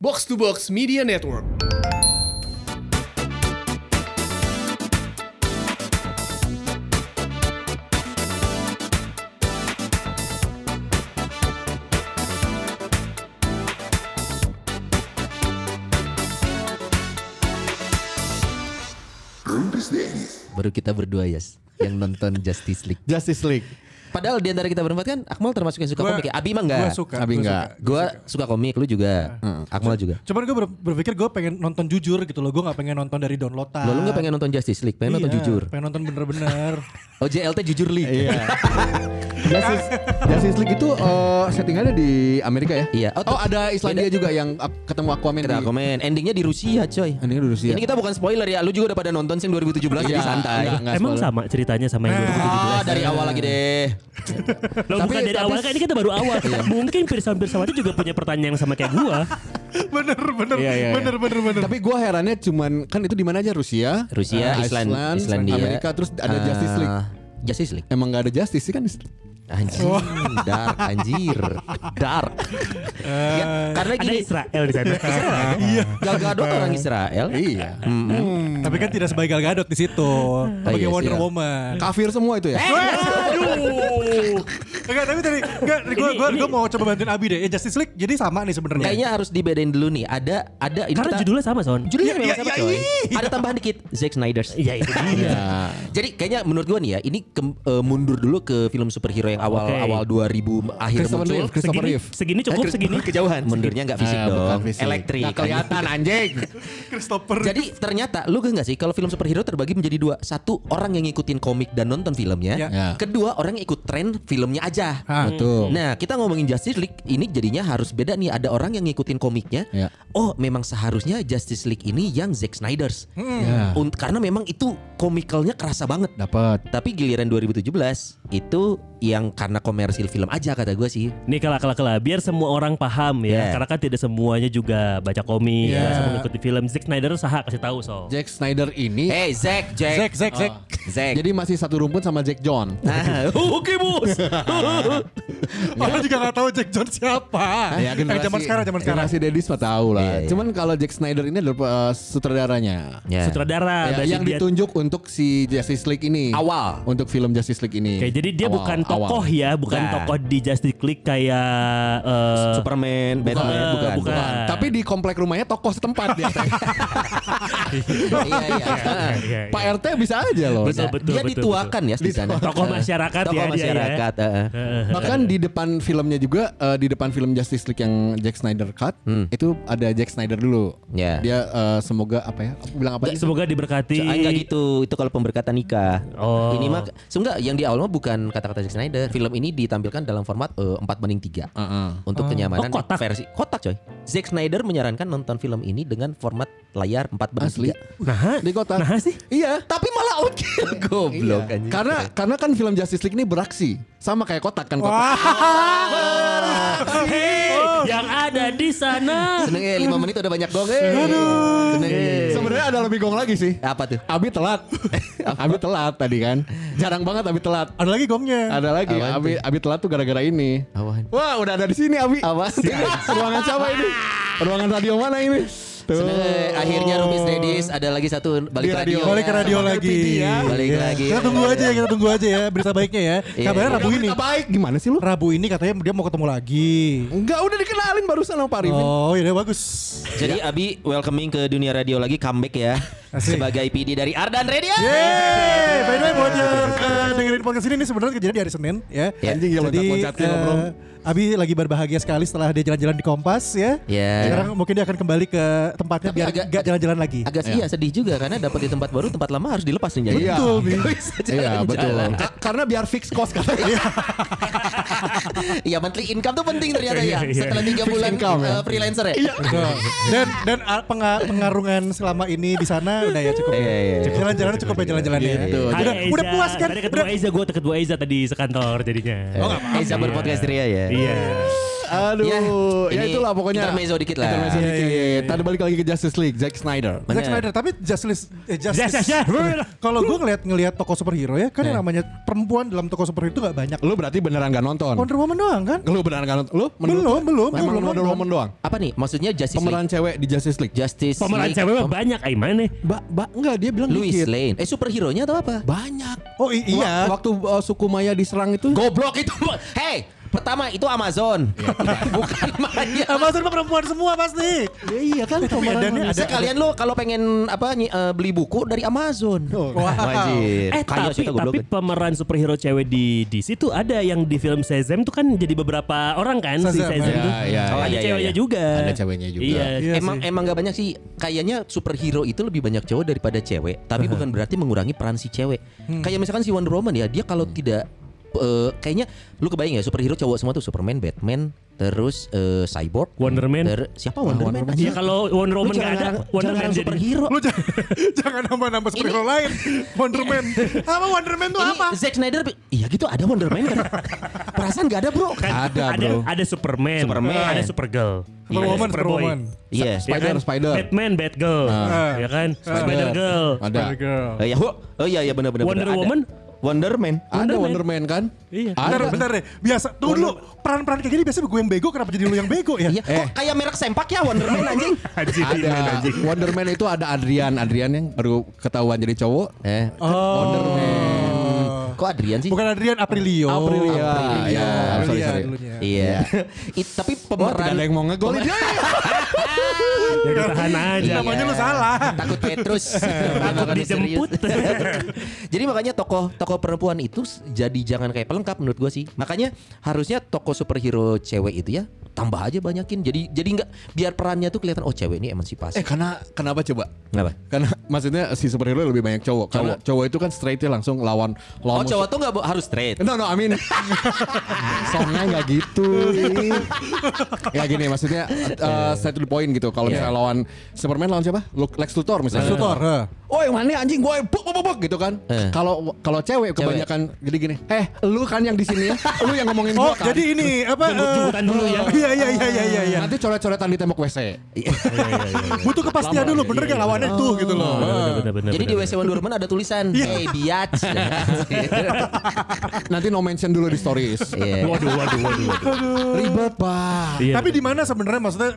Box to Box Media Network. Baru kita berdua Yas Yang nonton Justice League Justice League. Padahal di antara kita berempat kan Akmal termasuk yang suka Gua- komik ya Abi mah enggak gua suka, Abi gua enggak. suka, Iya. gua Gue suka komik Lu juga Akmal juga Cuman gue berpikir gue pengen nonton jujur gitu loh. Gue gak pengen nonton dari downloadan. Lo lu gak pengen nonton Justice League Pengen nonton Iya, jujur Pengen nonton bener-bener. Oh JLT jujur League Iya. Justice, Justice League itu eh, settingannya di Amerika ya? Iya. Oh, Oh, ada Islandia juga yang eh, ketemu Aquaman Kita di komen Endingnya di Rusia coy Endingnya di Rusia. Ini kita bukan spoiler ya Lu juga udah pada nonton Sing 2017 Jadi Iya, santai enggak, enggak Emang spoiler. sama ceritanya sama yang Ah 2017. dari awal lagi deh Lo Tapi- bukan dari tapi- awal kan ini kita baru awal. Mungkin Pirsa Pirsawati juga punya pertanyaan yang sama kayak gua. bener, bener, Iya, iya, iya. Ah, bener, bener, bener. Tapi gua herannya cuman kan itu di mana aja Rusia, Rusia, eh, Island, Islandia Amerika terus ada Ah, Justice League. Justice League Emang gak ada Justice sih kan? Anjir Dark Anjir Dark Ya, Karena Eh, Ada Eh. gini Israel di sana. Gal Gadot orang Israel hmm, Iya. Tapi kan tidak sebagai Gal Gadot di situ. Sebagai iya sih, Wonder iya. Woman. Kafir semua itu ya. Eh. Aduh. Enggak, tapi tadi enggak gua Ini- gua ini- gua mau coba bantuin Abi deh. Ya Justice League jadi sama nih sebenarnya. Kayaknya harus dibedain dulu nih. Ada ada ini Karena kita- judulnya sama Son. judulnya Iya, memang iya, sama iya, coy. iya. Ada tambahan dikit Zack Snyder's. Iya itu dia. Nah, Jadi kayaknya menurut gua nih ya, ini ke- eh, mundur dulu ke film superhero yang awal Oke. awal 2000 akhir Christopher muncul. Reeve, Christopher Segini, Reeve. segini cukup Eh, segini. kejauhan. Mundurnya nggak fisik Eh, bukan dong. fisik. Elektrik. Nggak kelihatan anjing. Christopher. Jadi ternyata lu gak sih kalau film superhero terbagi menjadi dua. Satu orang yang ngikutin komik dan nonton filmnya. Ya. Ya. Kedua orang yang ikut tren filmnya aja. Hah. Betul. Nah kita ngomongin Justice League ini jadinya harus beda nih. Ada orang yang ngikutin komiknya. Ya. Oh memang seharusnya Justice League ini yang Zack Snyder's. Ya. Unt- karena memang itu komikalnya kerasa banget. Dapat. Tapi giliran 2017 itu yang karena komersil film aja kata gue sih. Nih kalah kalah kalah biar semua orang paham ya. Yeah. Karena kan tidak semuanya juga baca komik, Yeah. yeah. semua ikuti film. Zack Snyder sah kasih tahu so. Jack Snyder ini Hey Zack, Zack Zack, Zack Zack. Zack. jadi masih satu rumpun sama Jack John. Ah, Oke bos. Orang juga gak tahu Jack John siapa. Ya, eh, zaman sekarang zaman sekarang. Generasi Dedis mah tahu lah. Iya, iya. Cuman kalau Jack Snyder ini adalah uh, sutradaranya. Ya. Ya, Sutradara berarti yang dia- ditunjuk untuk si Justice League ini. Awal. Untuk film Justice League ini. Oke, jadi dia Awal, bukan tokoh awal. ya, bukan Bukan. tokoh di Justice League kayak eh, Superman, Batman, Bukan, bukan. bukan. Bukan. Tapi di komplek rumahnya tokoh setempat dia. iya iya. Ah. iya, iya. Pak RT bisa aja loh. Betul, Nah, betul, dia betul, dituakan ya di sana. Tokoh masyarakat Tokoh ya dia ya. masyarakat. ah, ah. Bahkan di depan filmnya juga eh, di depan film Justice League yang Jack Snyder cut itu ada Jack Snyder dulu. Hmm. Ya. Dia eh, semoga apa ya? Aku bilang apa? sih? Semoga diberkati. Ah, enggak gitu, itu kalau pemberkatan nikah. Oh. Ini mah sebenarnya yang di awal mah bukan kata-kata Zack Snyder. Film ini ditampilkan dalam format eh, 4 banding 3. Heeh. Untuk kenyamanan Oh, kotak. versi kotak coy. Zack Snyder menyarankan nonton film ini dengan format layar 4 banding Asli. 3. Nah, Di kota. nah sih. Iya. Tapi malah oke goblok Iya. anjing. Karena karena kan film Justice League ini beraksi sama kayak kotak kan kotak. Hei, yang ada di sana. Seneng ya 5 menit udah banyak gong. eh. Seneng Iya, ya. Sebenarnya ada lebih gong lagi sih. Apa tuh? Abi telat. Abi telat tadi kan. Jarang banget Abi telat. Ada lagi gongnya. Ada lagi Apaan Abi Abi telat tuh gara-gara ini. Awan. Wah, udah ada di sini Abi. Awan. Ruangan siapa ini? Ruangan radio mana ini? Tuh. Seneng eh. akhirnya Rumis Dedis ada lagi satu balik Di radio. radio. Balik ke Oh. radio Sama lagi. LPD ya. Balik Iya. lagi. Kita tunggu aja ya, kita tunggu aja ya berita baiknya ya. Iya, Kabarnya iya. Rabu ini. Berita baik. Gimana sih lu? Rabu ini katanya dia mau ketemu lagi. Enggak, udah dikenalin barusan sama Pak Arifin. Oh, iya bagus. Jadi Abi welcoming ke dunia radio lagi comeback ya Ya. Asik. sebagai PD dari Ardan Radio. Yeay, by the way buat yang eh, dengerin podcast ini, ini sebenarnya kejadian di hari Senin ya. Ya. Anjing ya Jadi loncat-loncatnya eh, ngobrol. Abi lagi berbahagia sekali setelah dia jalan-jalan di Kompas ya. Ya. Sekarang mungkin dia akan kembali ke tempatnya Tapi biar agak- gak jalan-jalan lagi. Agak sih ya sedih juga karena dapat di tempat baru tempat lama harus dilepas nih jadi. Iya. Betul, Bi. Iya, betul. Jalan. Ka- Karena biar fix cost katanya. Iya monthly income tuh penting ternyata ya. Iya, iya. Setelah tiga bulan income, ya. eh, freelancer ya. Betul. dan dan ah, penga- pengarungan selama ini di sana udah ya cukup. ya. Iya, iya, iya. Cukup Jalan-jalan cukup ya jalan-jalan ya. Gitu. Udah, Ada Eza. udah puas kan? Tadi Udah. Oh, ketemu Eza, gue ketemu Eza tadi sekantor jadinya. Eh, Eza berpodcast ria ya. Iya. Aduh, Ya, ya, ini itulah pokoknya. intermezzo dikit lah. Intermezzo Iya, dikit. iya, iya, iya. Tadi balik lagi ke Justice League, Zack Snyder. Bener. Zack Snyder tapi Justice eh, Yes, yes, Justice yes. kalau gue ngeliat ngelihat toko superhero ya kan yang namanya perempuan dalam toko superhero itu nggak banyak Lu berarti beneran gak nonton? Wonder Woman doang kan Lu beneran gak nonton? Lu Belum, lu- belum, Emang belum nonton. Wonder Woman doang? Apa nih? Maksudnya Justice Pemeran League? cewek di Justice League? Justice Pemeran League, cewek mah pem- banyak ay mana? Ba, ba, enggak, dia bilang Louis dikit. Lane. Eh superhero-nya atau apa? Banyak. oh i- iya Wa- Waktu uh, suku Maya diserang itu. Goblok itu. Hey, pertama itu Amazon. Bukan Maya. Amazon mah perempuan semua pasti Ya, iya kan pemeran medannya manusia. Sekalian lu kalau pengen apa nyi- eh, beli buku dari Amazon. Oh. Wajib. Eh Kaya tapi, kita tapi goblok. ya. pemeran superhero cewek di DC tuh ada yang di film Shazam tuh kan jadi beberapa orang kan si Shazam, Shazam ya. iya, tuh. Oh, iya, ada iya, ceweknya iya. juga. Ada ceweknya juga. Iya. Iya emang sih. emang gak banyak sih. Kayaknya superhero itu lebih banyak cowok daripada cewek. Tapi bukan berarti mengurangi peran si cewek. Hmm. Kayak misalkan si Wonder Woman ya, dia kalau tidak eh, kayaknya lu kebayang ya superhero cowok semua tuh Superman, Batman, terus eh, Cyborg, Wonder Man. ter- siapa Wonder Man? Wonder Man. Ya Anjing. kalau Wonder Woman Lu nggak jangan ada, ngarang- Wonder jangan Man ngarang jadi superhero. lu jangan, jangan nambah-nambah superhero lain Wonder Man apa Wonder Man tuh Ini apa Zack Snyder bi- Iya gitu ada Wonder Man kan Perasaan gak ada bro Kan Ada, ada, bro. ada Superman, Superman. ada Supergirl, ada Superwoman, Superwoman. Iya Sa- Spider, Spider. kan? Batman, Batgirl, ya kan, Spider Girl, Ada. Girl Oh iya, hu- oh iya iya benar benar. Wonder benar, ada. Woman? Wonder Man. Ah, Ada Man. Wonder Man kan? Iya. Bentar, Ada. bentar deh. Biasa, tunggu dulu. Peran-peran kayak gini biasanya gue yang bego, kenapa jadi lu yang bego ya? Iya, kok kayak merek sempak ya Wonder Man anjing. Haji Ada. Timan, anjing. Wonder Man itu ada Adrian. Adrian yang baru ketahuan jadi cowok. eh, Wonder Man. kok Adrian sih? Ah, Oh. Bukan Adrian Aprilio. Aprilia. Iya, Iya, sorry, sorry. dulunya. Iya. It- tapi Wah, tidak pemeran ada yang mau ngegolin. Ya ditahan aja. Iya. Namanya lu salah. Takut Petrus. Takut dijemput. Serius. jadi makanya tokoh tokoh perempuan itu s- jadi jangan kayak pelengkap menurut gua sih. Makanya harusnya tokoh superhero cewek itu ya tambah aja banyakin. Jadi jadi nggak biar perannya tuh kelihatan oh cewek ini Eh emansipasi. karena kenapa coba? Kenapa? Karena maksudnya si superhero lebih banyak cowok. Karena cowok itu kan straightnya langsung lawan Oh lawan musuh. cowok tuh nggak bo- harus straight. No no I mean Songnya nggak gitu Ya gini maksudnya uh, Straight to the point gitu Kalau misalnya lawan Superman lawan siapa? Lu- Lex Luthor misalnya Sutor. eh. Oh yang mana anjing gue buk buk buk, buk gitu kan Eh. Kalau kalau cewek kebanyakan Jadi gini Eh lu kan yang di sini ya Lu yang ngomongin Oh, gue kan jadi ini apa? Jemput-jemputan eh, dulu ya. Iya, iya, iya, iya, iya, iya. Nanti coret-coretan di tembok WC Butuh kepastian dulu, ya, bener iya, gak lawannya tuh Oh, gitu loh. Jadi di WC Wonder Woman ada tulisan Iya. Hey biatch Nanti no mention dulu di stories Iya. Waduh, waduh, waduh. waduh. Ribet pak Iya, Tapi di mana sebenarnya maksudnya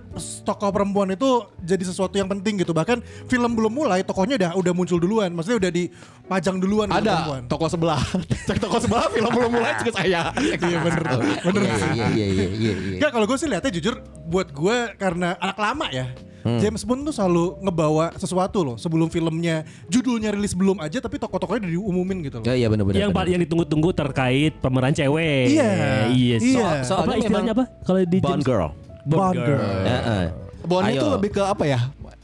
tokoh perempuan itu jadi sesuatu yang penting gitu. Bahkan film belum mulai tokohnya udah udah muncul duluan. Maksudnya udah dipajang duluan gitu Ada toko sebelah Cek toko sebelah film belum mulai Cek saya Iya bener Bener Iya iya iya iya iya. Enggak kalau gue sih lihatnya jujur buat gue karena anak lama ya. Hmm. James Bond tuh selalu ngebawa sesuatu loh sebelum filmnya judulnya rilis belum aja tapi tokoh-tokohnya udah diumumin Ya gitu loh. iya bener bener. yang bener. pa- yang ditunggu-tunggu terkait pemeran cewek. Iya. Iya. Iya. So- Apa Soalnya istilahnya memang apa? Eh. Kalau di Bond James- Girl. Bond Bond Girl. Girl. Heeh. Bon Ayo. itu lebih ke apa ya?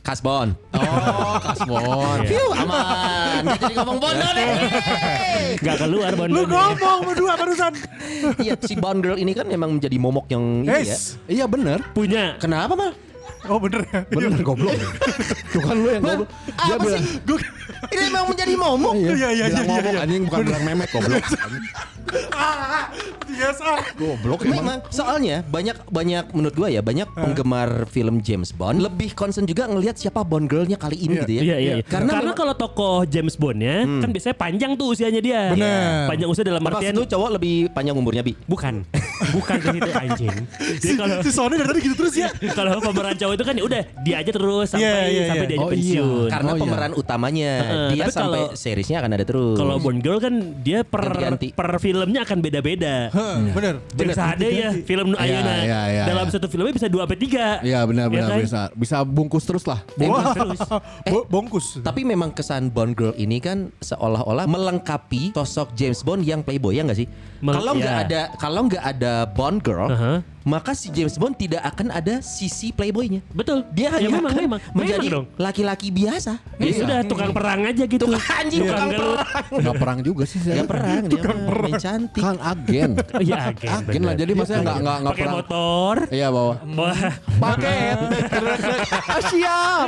Kas Bond. Oh, kasbon. Iya. Piu, aman. Nggak Jadi ngomong Bond dong deh. Nggak keluar Bond iya, Lu Girl. ngomong berdua barusan. Iya si Bond Girl ini kan memang menjadi momok yang ini ya. Yes. Iya bener. Punya. Kenapa mal? Oh bener ya. Bener goblok. Tuh kan lu yang goblok. Dia Apa bilang, sih? Ini memang menjadi momok. Iya, Iya, iya, bilang iya, ngomong iya. anjing bukan bilang memek goblok. Ah, ah, yes ah. Goblok emang. Memang soalnya banyak banyak menurut gua ya banyak penggemar film James Bond lebih concern juga ngelihat siapa Bond girlnya kali ini gitu ya. Iya, iya, iya. Karena, Karena, kalau tokoh James Bondnya kan biasanya panjang tuh usianya dia. Bener. Panjang usia dalam pas artian itu cowok lebih panjang umurnya bi. bukan, bukan ke situ anjing. Jadi Si, kalau si Sony dari tadi gitu terus ya. kalau pemeran cowok itu kan ya udah dia aja terus sampai Iya, iya, sampai iya. dia aja Oh, iya. pensiun. Karena Oh, iya. pemeran utamanya Heeh, dia tapi sampai kalau- seriesnya akan ada terus. Kalau Bond Girl kan dia per Ganti-ganti. per filmnya akan beda-beda. Heh, Bener. James Hade ya film Iya, Ayana iya, iya, dalam iya. satu filmnya bisa dua sampai tiga. Iya benar benar kan? bisa. Bisa bungkus terus lah. Wah, terus. bo- bongkus. Tapi memang kesan Bond Girl ini kan seolah-olah melengkapi sosok James Bond yang playboy ya nggak sih? Mel- kalau nggak ya. ada kalau nggak ada Bond Girl, Aha. maka si James Bond tidak akan ada sisi playboynya. Betul. Dia hanya ya, memang, akan memang, menjadi memang dong. laki-laki biasa. Iya. Iya. Ya sudah tukang perang aja gitu. Tukang anjing, tukang galau. Enggak perang juga sih saya. Gak perang dia mah main cantik. Kan agen. Iya, agen. Ah, Agen iya. lah bener. jadi maksudnya enggak enggak enggak Pakai perang. motor. Iya bawa. Wah, Paket. Ah, Siap.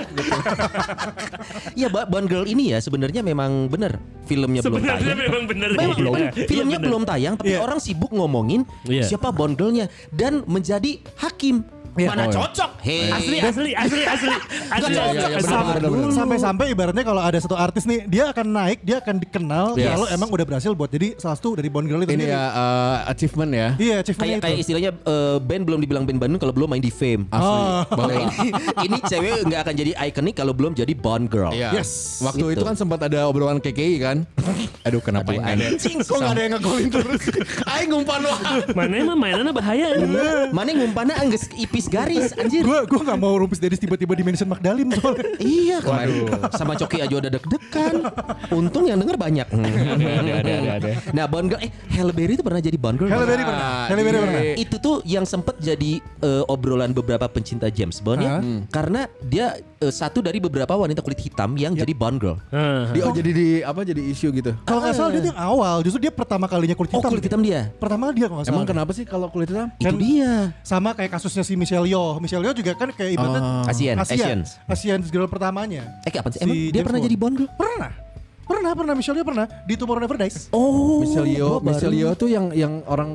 Iya Ba- Bond Girl ini ya sebenarnya memang bener filmnya belum sebenarnya tayang. memang bener. Memang Iya, bener. iya, filmnya bener. belum tayang tapi Iya. orang sibuk ngomongin Iya. siapa Bond Girl-nya dan menjadi hakim. Mana Oh, iya. cocok? Hei. Asli, asli, asli, asli, asli. Iya, iya, iya, benar, Sabar benar, benar. dulu. Sampai-sampai ibaratnya kalau ada satu artis nih, dia akan naik, dia akan dikenal Yes. kalau emang udah berhasil buat jadi salah satu dari Bond Girl itu Ini sendiri. ya eh, achievement ya. Iya, achievement Kayak itu. kayak istilahnya eh, band belum dibilang band Bandung kalau belum main di Fame. Asli. Oh. Nah, Banget. ini, ini cewek nggak akan jadi ikonik kalau belum jadi Bond Girl. Iya. Yes. Waktu Gitu. itu kan sempat ada obrolan KKI kan. Aduh kenapa ini ada? Kok gak ada yang ngegolin terus? Aing ngumpan lo. Mana emang mainannya bahaya. Mana ngumpana angges ipis garis anjir. Gue gue gak mau rumpis dari tiba-tiba di mention Magdalim soalnya. Iya kemarin sama Coki aja udah deg-degan. Untung yang denger banyak. ada, ada, ada, ada. Nah, Bond Girl eh Halle Berry itu pernah jadi Bond Girl. Halle nggak? Berry pernah. Halle Berry pernah. Itu tuh yang sempet jadi eh, obrolan beberapa pencinta James Bond ya. Hah? Hmm. Karena dia eh, satu dari beberapa wanita kulit hitam yang jadi Bond Girl. Ah. Dia jadi di apa jadi isu gitu. Kalau gak salah dia tuh yang awal, justru dia pertama kalinya kulit Oh, hitam. kulit hitam dia. Pertama dia kalau gak salah. Emang kenapa sih kalau kulit hitam? Itu Kan- dia. Sama kayak kasusnya si Michelle Yeoh. Michelle Yeoh juga kan kayak ibaratnya Asian, Asian. Asian girl pertamanya. Eh, kapan sih? Emang Si dia James pernah Bond. jadi Bond Girl? Pernah. Pernah, pernah. Michelle Yeoh pernah. Di Tomorrow Never Dies. Oh, Michelle Yeoh, gua baru- Michelle Yeoh tuh yang yang orang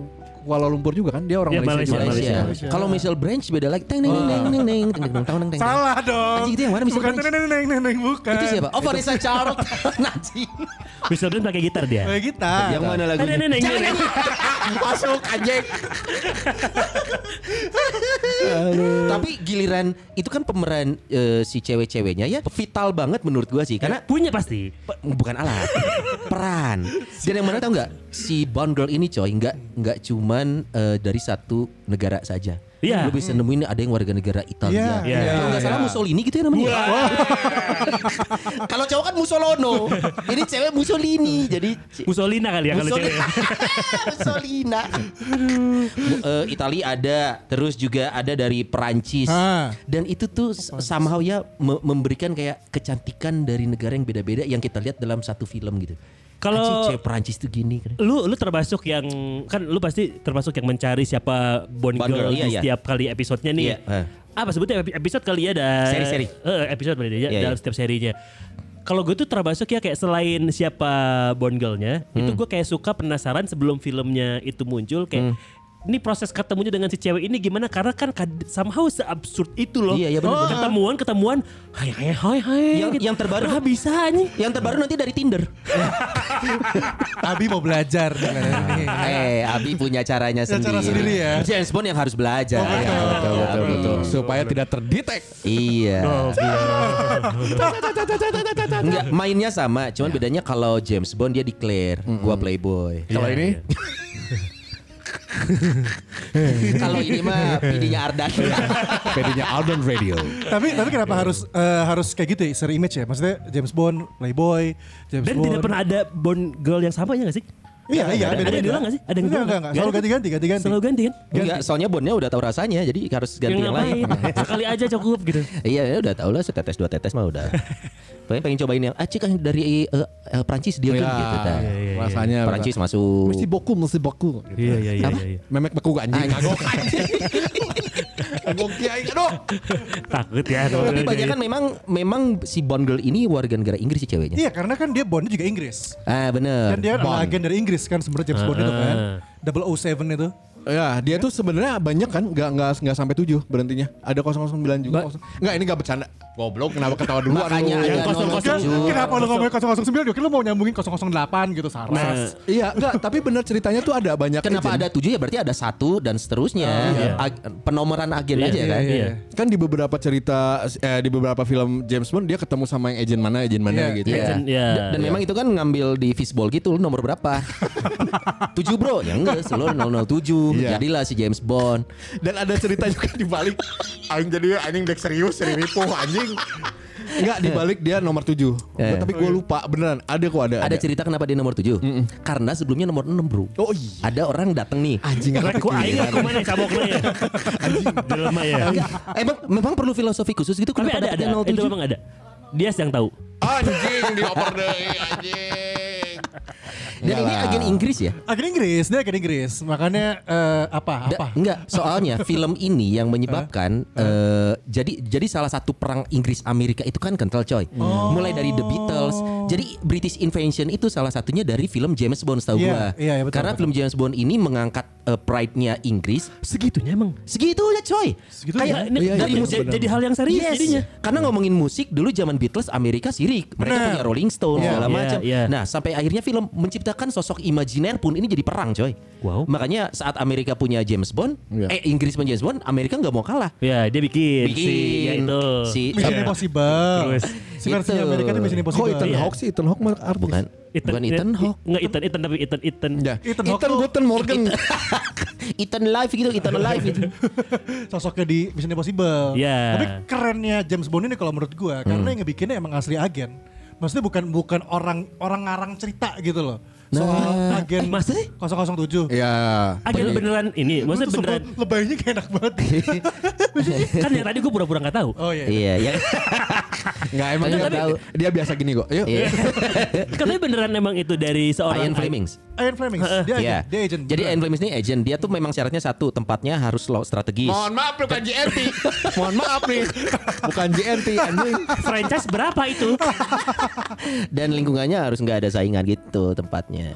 Kuala Lumpur juga kan? Dia orang Iya, Malaysia. juga. Malaysia. Malaysia. Kalau Michelle Branch beda lagi. Teng neng neng neng neng neng teng, teng, teng, teng, teng. Salah dong. Anjing, itu yang mana Michelle Bukan, Branch? neng, neng, neng, neng, bukan. Itu siapa? Oh, Vanessa Charlotte. Nah, Najib. Michelle Branch pakai gitar dia. Nah, Kayak kita. Yang mana Ada lagunya? nenek Jangan nyanyi. Masuk anjing. Tapi giliran itu kan pemeran eh, si cewek-ceweknya ya vital banget menurut gua sih karena nah. Punya pasti. pe- bukan alat peran dan yang mana tau nggak si Bond Girl ini coy nggak nggak cuman eh, dari satu negara saja Iya. Lu bisa nemuin ada yang warga negara Italia Iya, iya, kalau nggak salah Mussolini gitu ya namanya kalau cowok kan Mussolono ini cewek Mussolini jadi ce- Musolina kali ya kalau Mussolini. cewek. Mussolina. Bu- eh, Italia ada, terus juga ada dari Perancis. Ah. Dan itu tuh s- somehow ya me- memberikan kayak kecantikan dari negara yang beda-beda yang kita lihat dalam satu film gitu. Kalau- Anjing, cewek Perancis tuh gini kan. Lu lu termasuk yang kan lu pasti termasuk yang mencari siapa Bond Bond Girl Girl, iya, di iya. setiap kali episodenya nih. Iya, eh. Apa sebutnya epi- episode kali ya ada Seri-seri. Eh, episode berarti ya Iya, dalam iya. setiap serinya. Kalau gue tuh termasuk ya kayak selain siapa Bond Girl-nya, Hmm. itu gue kayak suka penasaran sebelum filmnya itu muncul kayak Hmm. Ini proses ketemunya dengan si cewek ini gimana? Karena kan kad- somehow seabsurd itu loh. Oh, Iya, iya, benar, benar. Ketemuan, ketemuan, hai hai hai hai. Yang- yang terbaru- Ah, bisa anjing. Yang terbaru nanti dari Tinder. Abi mau belajar dengan Nah, ini. eh, Abi punya caranya Punya sendiri. cara sendiri ya. James Bond yang harus belajar. Iya, betul, betul, betul. Supaya tidak terdetek. Iya. Enggak, mainnya sama, cuman bedanya kalau James Bond dia declare gua playboy. Kalau ini kalau ini mah pidinya Ardan. pedenya Alden Radio. iya. tapi tapi kenapa harus eh, harus kayak gitu ya seri image ya maksudnya James Bond playboy James Dan Bond tidak pernah ada Bond girl yang sama ya gak sih? iya iya Ada, ada, yang bilang gak sih? Ada yang enggak bilang enggak enggak selalu ganti ganti ganti ganti Selalu ganti kan? Enggak, soalnya Bondnya udah tahu rasanya, jadi harus ganti yang, lain. Sekali aja cukup gitu. Iya, ya udah tau lah setetes dua tetes mah udah. Pengen pengen cobain yang ah cik yang dari eh, eh, Prancis dia Iya, kan gitu dah. Rasanya Prancis masuk. Iya, Mesti boku, mesti boku. Iya iya iya. iya. Memek beku gak anjing. Kagok anjing. Kagok kiai. Aduh. Takut ya. Tapi banyak kan memang memang si Bond girl ini warga negara Inggris sih ceweknya. iya karena kan dia Bondnya juga Inggris Ah bener. kan dia adalah agen dari Inggris kan sebenarnya James Bond itu kan Ah. 007 itu Ya, dia tuh sebenarnya banyak kan, nggak nggak nggak sampai tujuh berhentinya. Ada 009 juga. Nggak, ini nggak bercanda. Goblok, kenapa ketawa dulu? Makanya ada yang kosong- Kan, 007. kenapa lu ngomongin 009 Dia kan lu mau nyambungin 008 gitu Sarah Nah, Iya, enggak, tapi benar ceritanya tuh ada banyak Kenapa agent. ada tujuh ya berarti ada satu dan seterusnya. Ag- penomoran agen aja kan. Oh, Iya. kan di beberapa cerita eh, di beberapa film James Bond dia ketemu sama yang agent mana agent mana Iya. gitu Iya. Agent, iya. Dan, dan memang itu kan ngambil di fishball gitu lu nomor berapa? 7 bro. Ya enggak, selalu 007. Iya. Jadilah si James Bond. dan ada cerita juga di balik anjing jadi anjing dek serius seri ripuh anjing Enggak di balik dia nomor 7 Iya. tapi gue lupa beneran ada kok ada Ada cerita kenapa dia nomor 7? Karena sebelumnya nomor 6, Bro. Oh, iya. Ada orang datang nih. anjing nggak Aku aing kepikiran. aku mana caboknya ya. Jelema ya. Enggak, emang memang perlu filosofi khusus gitu Tapi kenapa ada ada. dapetnya Itu memang ada. Dia yang tahu. anjing dioper deh anjing 07? Dan ini Iyalah. agen Inggris ya? Agen Ah, Inggris Dia agen Inggris Makanya eh, apa Da- apa Eh? enggak, soalnya film ini yang menyebabkan Oh. eh, jadi jadi salah satu perang Inggris Amerika itu kan kental coy. Mulai dari The Beatles, Jadi British Invasion itu salah satunya dari film James Bond setahu Iya, gua. iya, iya, betul, Karena betul. film James Bond ini mengangkat eh, pride-nya Inggris Segitunya emang. segitunya coy. Segitunya? Oh, iya, Kayak ini Ini dari jadi- musik jadi hal yang serius Yes. jadinya. Karena ngomongin musik dulu zaman Beatles Amerika sirik. Mereka Benar. punya Rolling Stone Iya. segala Iya, macam. iya. Nah, sampai akhirnya film menciptakan sosok imajiner pun ini jadi perang, coy. Wow. Makanya saat Amerika punya James Bond, Iya. eh Inggris punya James Bond, Amerika nggak mau kalah. Ya dia bikin, Bikin si ya itu. si Mission Iya. Impossible. Terus. Si versinya Gitu. Amerika itu Mission Kok Impossible. Oh, Ethan Iya. Hawke sih? Ethan Hawke mah artis. bukan bukan Iya. Ethan Hawke. ya, Nggak Ethan, Ethan tapi Ethan, Ethan. Ya. Ethan Ethan, Hawke Ethan tuh- Guten Morgan. Ethan Live gitu, Ethan Live gitu. Sosoknya di Mission Impossible. Iya. Hmm. Tapi kerennya James Bond ini kalau menurut gua karena yang ngebikinnya emang asli agen. Maksudnya bukan bukan orang orang ngarang cerita gitu loh. Soal agen Nah. Eh, maksudnya? 007. Ya. Agen beneran ini, maksudnya Itu beneran. sebelum Lebaynya kayak enak banget. kan yang tadi gue pura-pura nggak tahu. oh iya. Iya, ya. Enggak emang Tapi- dia tapi- tahu. Dia biasa gini kok. Yuk. Iya. Oh, Katanya Kan beneran emang itu dari seorang. Ian Flemings. Ian Fleming. Dia Iya. agent. Dia agent. Jadi Ian Flemings ini agent. Dia tuh memang syaratnya satu, tempatnya harus lo strategis. Mohon maaf bukan JNT. Mohon maaf nih. Bukan JNT anjing. Franchise berapa itu? Dan lingkungannya harus nggak ada saingan gitu tempatnya.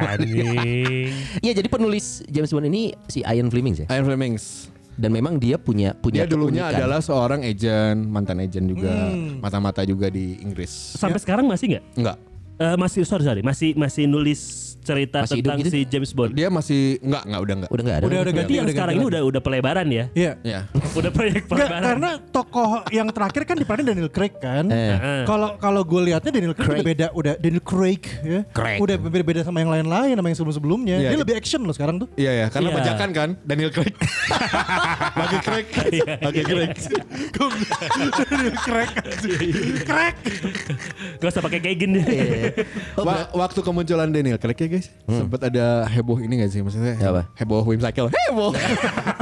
Anjing. Iya, jadi penulis James Bond ini si Ian Flemings ya. Ian Flemings. Dan memang dia punya punya Dia dulunya keunikan. adalah seorang agent, mantan agent juga, Hmm. mata-mata juga di Inggris. Sampai sekarang masih nggak? Enggak. Eh masih sorry sorry masih masih nulis cerita Masih hidup tentang gitu? si James Bond. Dia masih enggak, enggak udah enggak. udah nggak ada. Udah- udah Berarti ganti. Iya. yang sekarang ini ganti. udah udah pelebaran ya. Iya. Ya. Udah proyek Nggak, pelebaran. karena tokoh yang terakhir kan diperanin Daniel Craig kan. Eh. Kalau kalau gue lihatnya Daniel Craig, udah Craig. beda, udah Daniel Craig ya. Craig. Udah beda-beda sama yang lain-lain, sama yang sebelum-sebelumnya. Iya, Dia iya. lebih action loh sekarang tuh. Iya ya, karena Iya. bajakan kan Daniel Craig. Bagi Craig, Iya, bagi Craig. Daniel Craig. Craig. Gak usah pakai kayak gini. Oh, Wa- waktu kemunculan Daniel Craig ya guys, sempat ada heboh ini gak sih maksudnya? Hmm. Apa? Heboh whimsical. Heboh.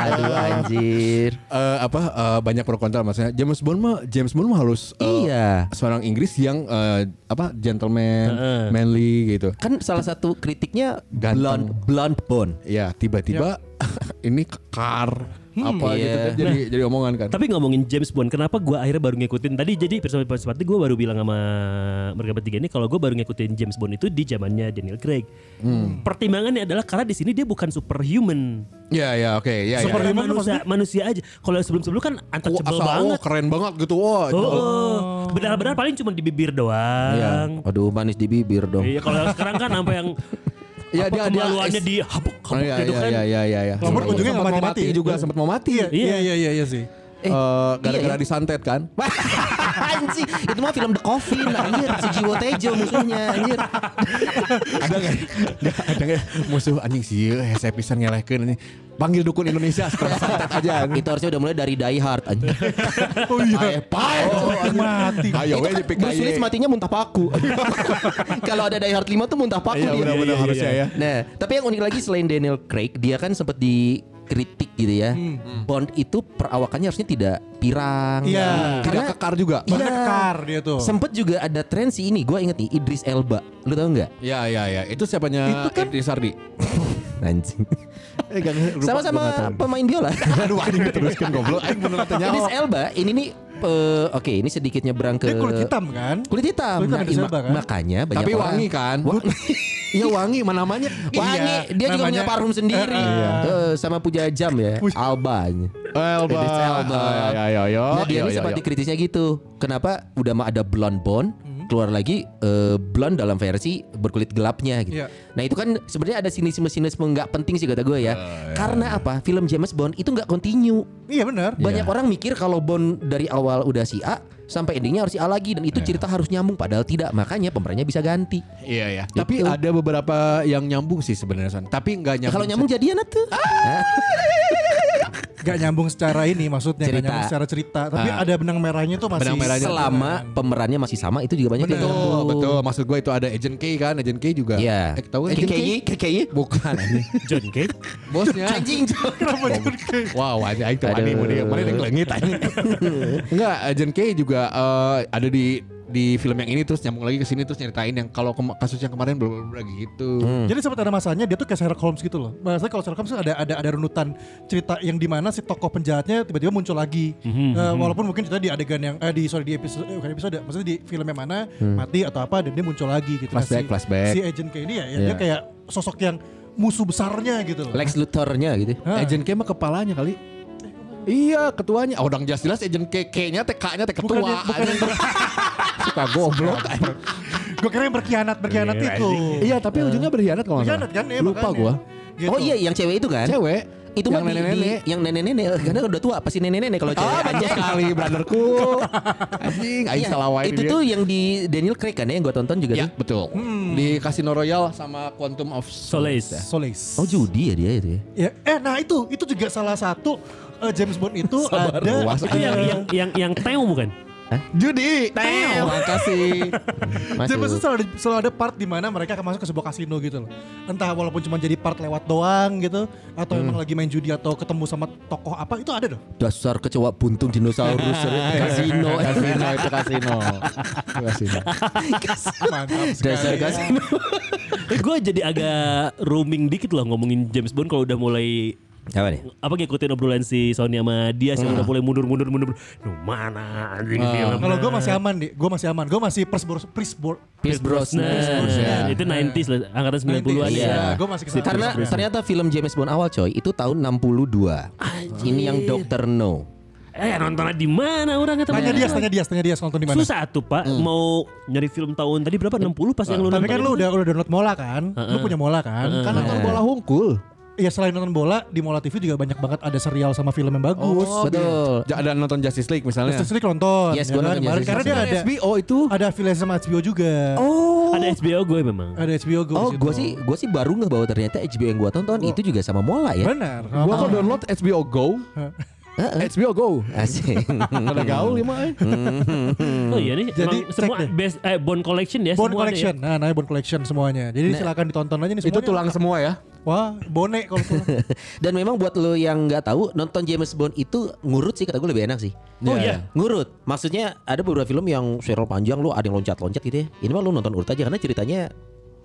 Aduh anjir. Eh, apa eh, banyak pro kontra maksudnya James Bond mah James Bond mah harus eh, Iya. seorang Inggris yang eh, apa gentleman, Heeh. manly gitu. Kan salah satu kritiknya blonde Ganteng. blonde Bond. Ya tiba-tiba Iya. ini kekar Hmm. apa gitu Iya. kan jadi Nah. jadi omongan kan. Tapi ngomongin James Bond, kenapa gue akhirnya baru ngikutin tadi? Jadi persoalan seperti gue baru bilang sama mereka bertiga ini kalau gue baru ngikutin James Bond itu di zamannya Daniel Craig. Pertimbangannya adalah karena di sini dia bukan superhuman, Iya ya oke ya ya. Dia Superhuman. Gimana manusia, manusia aja. Kalau sebelum-sebelum kan Wah, untouchable asal, wah, banget. keren banget gitu. Wah. Oh, benar-benar paling cuma di bibir doang. Ya. Aduh manis di bibir dong. Iya, kalau yang sekarang kan sampai yang Iya, apa dia- dia kemaluannya ex- di habuk-habuk Oh, iya, gitu iya, kan. iya, iya, iya, iya. Nomor Sempet- ujungnya sempet nggak mau mati-mati. mati juga sempat mau mati. Iya, Iya. iya, iya, iya, iya sih. Eh, Eh, iya gara-gara ya. disantet kan. anjir, itu mah film The Coffin anjir, Sujiwo Tejo musuhnya anjir. ada nggak? Nggak, Ada nggak? Musuh anjing sih, eh, saya pisan ngelehkeun ini. Panggil dukun Indonesia supaya santet aja. itu harusnya udah mulai dari Die Hard anjir. Oh iya. Ae, pae. mati. Oh, Ayo eh, itu we kan dipik Bruce aye. Willis matinya muntah paku. Kalau ada Die Hard 5 tuh muntah paku Iya, dia. benar-benar harusnya ya. Nah, tapi yang unik lagi selain Daniel Craig, dia kan sempat dikritik gitu ya. Bond itu perawakannya harusnya tidak pirang. Iya. Tidak Karena iya. kekar juga. Bahkan kekar dia tuh. Sempet juga ada tren sih ini, gue inget nih Idris Elba, lu tau nggak? Ya ya ya, itu siapanya Itu kan- Idris Sardi. Anjing. Eh, gak- lupa, gua gak Sama-sama tahu. pemain biola. Aduh anjing diteruskan goblok. Aing beneran tanya. Idris Elba, ini nih, eh, oke ini sedikit nyebrang ke Dia kulit hitam kan? Eh. Kulit hitam. Kulit hitam Nah, Idris ima- Elba kan? Makanya banyak Tapi orang- wangi kan? Iya wangi, mana namanya? Wangi, dia juga punya namanya- parfum sendiri. Eh, sama punya jam ya, Alba. Elba. Idris Elba. Ya ya ya. Nah, dia ini sempat dikritisnya gitu. Kenapa udah mah ada blonde bond, keluar lagi eh, blonde dalam versi berkulit gelapnya gitu. Iya. Nah, itu kan sebenarnya ada sinisme-sinisme nggak penting sih kata gue ya. Karena apa? Film James Bond itu nggak continue. Iya benar. Banyak orang mikir kalau Bond dari awal udah si A sampai endingnya harus si A lagi dan itu cerita harus nyambung padahal tidak. Makanya pemerannya bisa ganti. Iya ya. Tapi ada beberapa yang nyambung sih sebenarnya San. Tapi Ya, nggak nyambung. Gitu. kalau nyambung jadian tuh. Gak nyambung secara ini maksudnya, gak Cerita. nyambung secara cerita. Tapi ada benang merahnya tuh masih. Benang merahnya. selama pemerannya masih sama itu juga banyak yang Betul, nyambung. betul. Maksud gue itu ada Agent K kan, Agent K juga. Iya. Eh, tahu kan? Agent KKI? KKI? Bukan anjing. John Cage. Bosnya. Anjing. Jo. Wow, anjing aing tuh Aduh. aneh mun dia. Mana dia kelengit anjing. Enggak, Agent K juga eh, ada di di film yang ini terus nyambung lagi ke sini terus nyeritain yang kalau kema- kasus yang kemarin bla bla bla gitu. Hmm. Jadi sempat ada masanya dia tuh kayak Sherlock Holmes gitu loh. Maksudnya kalau Sherlock Holmes tuh ada ada ada runutan cerita yang dimana si tokoh penjahatnya tiba-tiba muncul lagi. Hmm, Eh, walaupun mungkin cerita di adegan yang eh, di sorry di episode eh, bukan episode maksudnya di film yang mana mati atau apa dan dia muncul lagi gitu. Nah, Hmm. Flashback, si, flashback. Si agent kayak ini ya, ya dia Iya. kayak sosok yang musuh besarnya gitu loh. Lex Luthor-nya gitu. Hah. Agent K mah kepalanya kali. Iya ketuanya. Oh, udah jelas jelas Agent K K-nya teh K-nya teh ketua. yang- bukan yang Suka goblok. anjing. Gue kira yang berkhianat berkhianat Iya, itu. iya tapi ujungnya berkhianat kalau nggak Berkhianat salah. kan ya Lupa makanya. gua. Gitu. Oh iya yang cewek itu kan? Cewek. Itu mah yang di- di- nenek-nenek. yang nenek-nenek karena udah tua pasti nenek-nenek kalau cewek. Ah, betul Anjing. sekali brotherku. Anjing, aing Eh. Iya, salah wae Itu dia. tuh yang di Daniel Craig kan ya yang gue tonton juga Ya, tuh. betul. Di Casino Royale sama Quantum of Solace. Solace. Solis. Oh judi ya dia itu ya. Ya, eh nah itu itu juga salah satu eh, James Bond itu Sabar, ada luas. Itu yang yang yang yang teo bukan? Judi. Terima kasih. Jadi maksudnya Masuk. selalu ada, selalu ada part di mana mereka akan masuk ke sebuah kasino gitu loh. Entah walaupun cuma jadi part lewat doang gitu atau Hmm. emang lagi main judi atau ketemu sama tokoh apa itu ada dong. Dasar kecewa buntung dinosaurus ya, eh, kasino. kasino Iya, itu kasino. Itu kasino. Mantap Dasar kasino. Eh gue jadi agak roaming dikit loh ngomongin James Bond kalau udah mulai Apa nih? apa ngikutin obrolan si Sony sama dia sih Ah. udah mulai mundur mundur mundur. Duh mana anjing film. Kalau gue masih aman nih, gue masih aman. Gue masih Prisbor Prisbor. Pierce Brosnan. ya. Brosnan. Nah, Iya. Itu 90s lah, angkatan 90-an Iya, ya. gue masih kesana. Karena ternyata film James Bond awal coy itu tahun 62. Ini yang Dr. No. Eh nontonnya di mana orang kata tanya dia, tanya dia, tanya dia nonton di mana. Hmm. Susah tuh Pak mau nyari film tahun tadi berapa 60 pas yang lu Tapi ya? nonton. kan lu udah udah download Mola kan? Lu punya Mola kan? Kan nonton bola hungkul. ya selain nonton bola di Mola TV juga banyak banget ada serial sama film yang bagus. Oh, betul. Ja- ada nonton Justice League misalnya. Justice League nonton. Yes, gua ya kan? nonton Kemarin Justice Karena dia League. ada HBO itu. ada affiliate sama HBO juga. Ada HBO gue memang. Ada HBO Go. Oh, di situ. gue sih gue sih baru nggak bahwa ternyata HBO yang gue tonton itu juga sama Mola ya. Benar. Gua kok download HBO Go. HBO Go. Asik. Ada gaul ya mah. Oh iya Hmm. Jadi, nih. Jadi semua cek deh. best eh, Bond Collection ya Bone semua ada ya. Collection. Nah, namanya Bone Collection semuanya. Jadi silakan ditonton aja nih Itu semuanya. tulang semua ya. Wah, bone kalau tulang. Dan memang buat lo yang nggak tahu nonton James Bond itu ngurut sih kata gue lebih enak sih. Ya. Oh iya. Ngurut. Maksudnya ada beberapa film yang serial panjang lo ada yang loncat-loncat gitu ya. Ini mah lo nonton urut aja karena ceritanya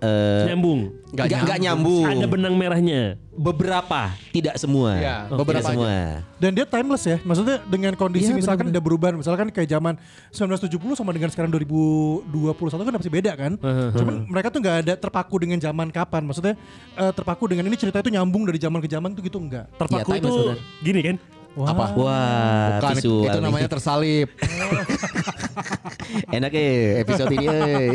eh Nyambung. nggak Nggak nggak Eh. nyambung. Ada benang merahnya. Iya, beberapa, tidak semua. Iya, Tidak beberapa aja. semua. Dan dia timeless ya. Maksudnya dengan kondisi Iya, misalkan udah berubah, misalkan kayak zaman 1970 sama dengan sekarang 2021 kan masih beda kan. Cuman mereka tuh nggak ada terpaku dengan zaman kapan. Maksudnya eh, terpaku dengan ini cerita itu nyambung dari zaman ke zaman tuh gitu enggak. Iya, Terpaku time itu maksudnya. gini kan. Wah. Apa? Wah, Bukan, visual itu nih. namanya tersalip. Enak ya episode ini eh.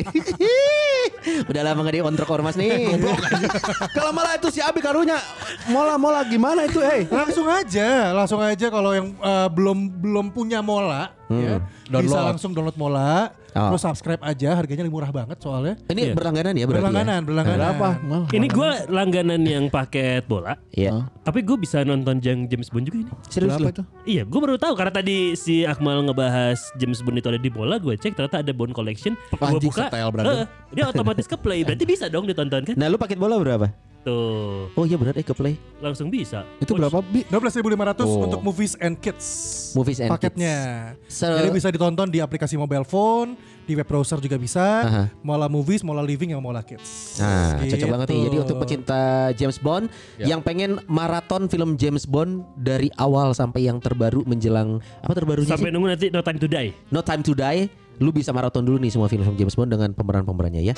Udah lama gak dikontrak ormas nih Kalau malah itu si Abi karunya mola mola gimana itu eh? langsung aja langsung aja kalau yang eh, belum belum punya mola ya, bisa Download. langsung download mola Oh. terus subscribe aja harganya murah banget soalnya Ini berlangganan ya berarti berlangganan berlangganan Berapa? Mal. Oh, Ini gue langganan yang paket ya? bola. Iya Tapi gue bisa nonton yang James Bond juga ini. Serius Berapa lu? itu? Iya, gue baru tahu karena tadi si Akmal ngebahas James Bond itu ada di bola, gue cek ternyata ada Bond Collection. Gue Anjing, buka, setel, brother. eh, dia otomatis ke play, berarti bisa dong ditonton kan? Nah lu paket bola berapa? Tuh, Oh iya benar eh ke play langsung bisa. Itu Wih, berapa bi? 12.500 Oh. untuk movies and kids Movies and paketnya So- jadi bisa ditonton di aplikasi mobile phone di web browser juga bisa Aha. mola movies mola living yang mola kids Nah Gitu. cocok banget nih Jadi untuk pecinta James Bond Yang pengen maraton film James Bond Dari awal sampai yang terbaru menjelang Apa terbarunya Sampai sih? nunggu nanti No Time to Die. No Time to Die Lu bisa maraton dulu nih semua film-film James Bond Dengan pemeran-pemerannya ya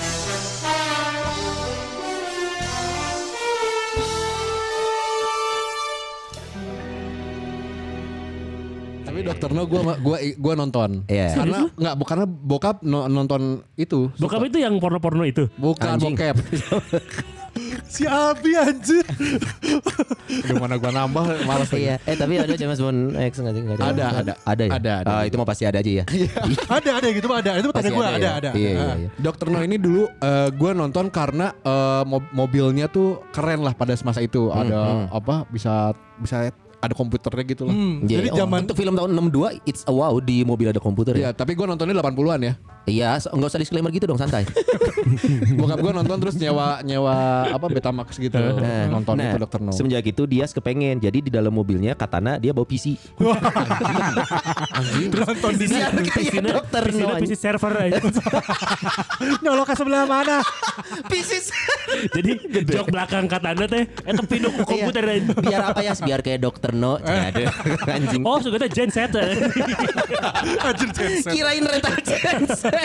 Tapi dokter no gue gua gua nonton. Iya. Karena nggak bu- karena bokap no- nonton itu. Bokap itu yang porno-porno itu. Bukan Anjing. bokep. si Abi anjir Gimana gua nambah malas Iya Eh tapi ada James Bond X nggak sih? Nggak Ada, ada. Ada ya? Ada, ada. Ah, Itu mah pasti ada aja ya ada ada gitu Iya. ada itu tanya Pasti gue ada ya? ada Ah. Iya ada. iya iya Dokter No ini dulu gue nonton karena eh, mob- mobilnya tuh keren lah pada semasa itu ada apa bisa bisa ada komputernya gitu lah. Hmm, Iya, jadi oh, zaman Iya. untuk film tahun 62 It's a wow di mobil ada komputer ya. Iya, tapi gue nontonnya 80-an ya. Iya, so- nggak usah disclaimer gitu dong santai. Bokap gue nonton terus nyewa nyewa apa Betamax gitu nonton itu Dokter Eh, No. nah, Semenjak itu dia kepengen. Jadi di dalam mobilnya Katana dia bawa PC. Nonton di Siapa kita ya, dokter, PC no, PC server aja. Nyolok ke sebelah mana? PC. Jadi jok belakang kata anda teh Itu pindah ke komputer Iya. aja. Biar apa ya? Biar kayak dokter no. Ada anjing. Oh sudah genset Iya, Kirain rental genset.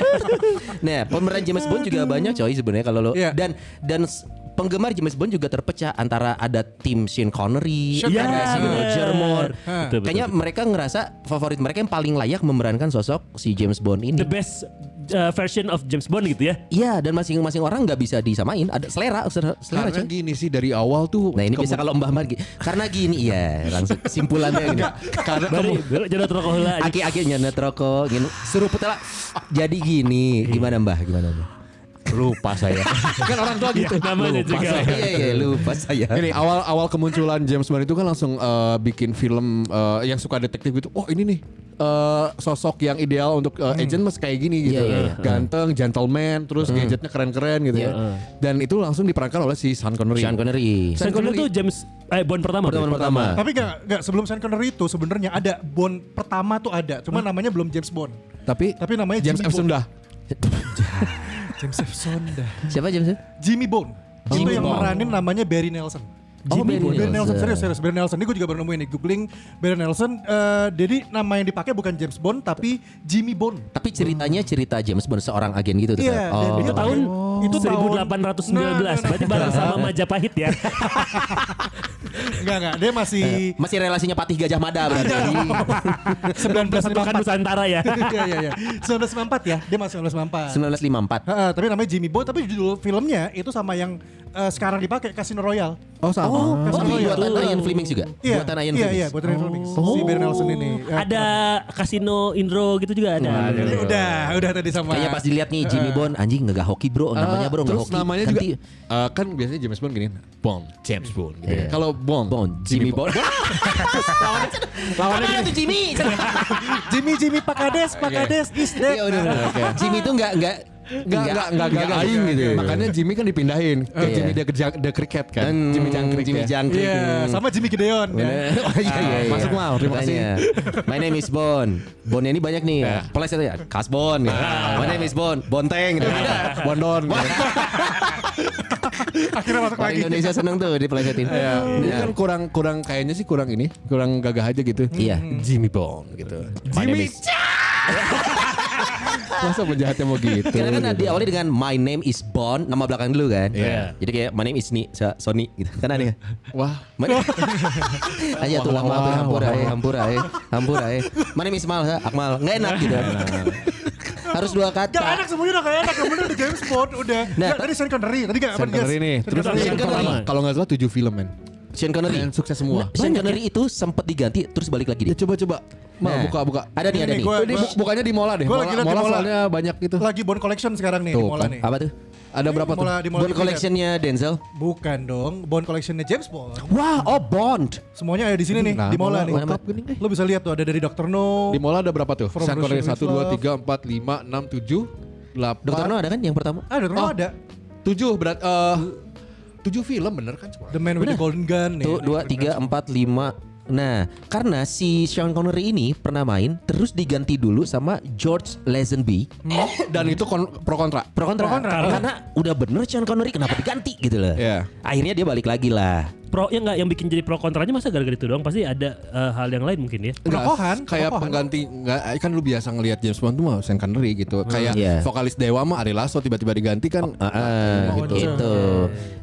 nah, pemeran James Bond juga banyak coy sebenarnya kalau lo Iya. dan dan s- penggemar James Bond juga terpecah antara ada tim Sean Connery, Sean ada Connery. si Roger Bener. Moore. Hah. Betul, betul, Kayaknya mereka ngerasa favorit mereka yang paling layak memerankan sosok si James Bond ini. The best uh, version of James Bond gitu ya Iya, dan masing-masing orang nggak bisa disamain. Ada selera, selera, selera Karena coy. gini sih dari awal tuh. Nah ini kemu- bisa kalau Mbah Mbah karena gini ya langsung kesimpulannya gini. Karena Baru baru jadi rokok heula aja. aki-aki nyandet rokok gini suruh putela jadi gini gimana Mbah gimana Mbah? lupa saya. kan orang tua gitu. Namanya Lupa juga saya. Iya iya lupa saya. Ini awal awal kemunculan James Bond itu kan langsung eh, bikin film eh, yang suka detektif gitu. Oh ini nih eh, sosok yang ideal untuk eh, agent mas kayak gini gitu. Iya, Hmm. iya, iya. Ganteng, gentleman, terus gadgetnya keren-keren gitu Iya. ya. Dan itu langsung diperankan oleh si Sean Connery. Sean Connery. Sean Connery tuh James eh, Bond pertama. Pertama Bond pertama. Tapi gak, gak sebelum Sean Connery itu sebenarnya ada Bond pertama tuh ada, cuma namanya belum James Bond. Tapi Tapi namanya James Jimmy Bond. F. Sunda. James F. Sonda. Siapa James? Jimmy Bond. itu Jimmy yang Bond. meranin namanya Barry Nelson. Oh, Barry Barry Nelson. Nelson. serius serius Barry Nelson ini gue juga baru nemuin nih googling Barry Nelson eh, jadi nama yang dipakai bukan James Bond tapi Jimmy Bond Tapi ceritanya cerita James Bond seorang agen gitu tuh. Iya, kan? dan Oh. dia Itu tahun Oh. Itu itu tahun- 1819. Nah, nah, nah. Berarti bareng sama Majapahit ya. enggak enggak dia masih Masih relasinya Patih Gajah Mada berarti. Persatukan 1994 Nusantara ya. Iya iya iya 1994 ya dia masih 1994 1954. Heeh, tapi namanya Jimmy Bond tapi judul filmnya itu sama yang eh, sekarang dipakai Casino Royale Oh sama. Oh, Casino Royale. buatan Ian Fleming juga. Iya, Buatan Ian Oh. iya, Fleming. iya, buatan Ian Fleming. Si Barry Nelson ini. Ya, Ada kasino Indro gitu juga ada. ini udah, udah tadi sama. Kayaknya pas dilihat nih Jimmy Bond anjing nggak hoki bro namanya bro nggak Ah, terus hoki. namanya Ganti juga eh, kan biasanya James Bond gini Bond James Bond gitu ya. Iya. kalau Bond Bond Jimmy Bond. Lawannya itu Jimmy. Jimmy Jimmy Pak Kades, Pak Kades is dead. Iya udah udah. Jimmy itu nggak nggak Enggak, enggak, enggak, enggak, nggak aing gitu. ya. Makanya Jimmy kan dipindahin ke Iya. Jimmy the, Jang- the Cricket kan. Hmm, Jimmy Jangkrik Jimmy ya. Jangkrik. Iya, Hmm. sama Jimmy Gideon. ya. Bener. Oh, iya, iya, iya. Masuk mal, terima kasih. Makanya. My name is Bon. Bonnya ini banyak nih. Ya. Pleset ya. Kas Bon. gitu. My name is Bon. Bonteng. gitu. Bondon. Akhirnya masuk Orang lagi. Indonesia seneng tuh dipelesetin. Iya. Ini Iya. kan kurang kurang kayaknya sih kurang ini, kurang gagah aja gitu. Iya. Jimmy Bond gitu. My name Jimmy. is- Masa penjahatnya mau gitu. Karena kan diawali dengan my name is Bon, nama belakang dulu kan. Iya. Jadi kayak my name is Ni, Sa- Sony gitu. Kan aneh. kan? Wah, My- Aja tuh Wah, wah, wah, hampur wah. ae, hampur ae, hampur ae. My name is Mal, ha? Akmal. Nggak enak gitu. Harus dua kata. Gak enak semuanya udah gak enak. Kemudian udah James Bond udah. Nah, Gak, tadi Sean Connery. Tadi gak Sean Connery nih. Terus Connery. Iya, Sean Connery. Pertama. Nah, Kalau nggak salah 7 film men. Sean Connery. Dan sukses semua. Sean Connery itu sempat diganti terus balik lagi Ya dia. coba-coba. Mal Nah. buka-buka. Ada nih, Ini ada nih, nih. gua- Ini bu- bukannya di Mola deh. Gua Mola, lagi liat di Mola Mola. soalnya banyak gitu. Lagi Bond Collection sekarang nih. Tuh, di Mola kan. nih. Apa tuh? Ada berapa Mola, tuh? di Mola Bond tiga. collectionnya Denzel. Bukan dong. Bond Collectionnya James Bond. Wah, oh Bond. Semuanya ada di sini nih. Nah, di Mola Mola nih. lengkap gini nih. Lo bisa lihat tuh ada dari Dr. No. Di Mola ada berapa tuh? From Sean Connery Russia 1, with Love. 2, 3, 4, 5, 6, 7, 8, Dokter No ada kan yang pertama? Ah, Dr. No Oh. ada. 7 berat eh 7 film bener kan semua? The Man with the Golden Gun. nih. Tuh dua tiga empat lima. Nah, karena si Sean Connery ini pernah main terus diganti dulu sama George Lazenby. Hmm. Dan itu kon- pro kontra. Pro kontra. Pro kontra. Karena udah bener Sean Connery kenapa diganti gitu loh. Iya. Akhirnya dia balik lagi lah. Pro yang enggak yang bikin jadi pro kontranya masa gara-gara itu doang pasti ada eh, hal yang lain mungkin ya. Enggak, Perokohan, kayak perokohan. pengganti enggak kan lu biasa ngelihat James Bond tuh mah Sean Connery gitu. Hmm. Kayak Iya. vokalis Dewa mah Ari Lasso tiba-tiba diganti kan. Ah, ah, gitu. Iya,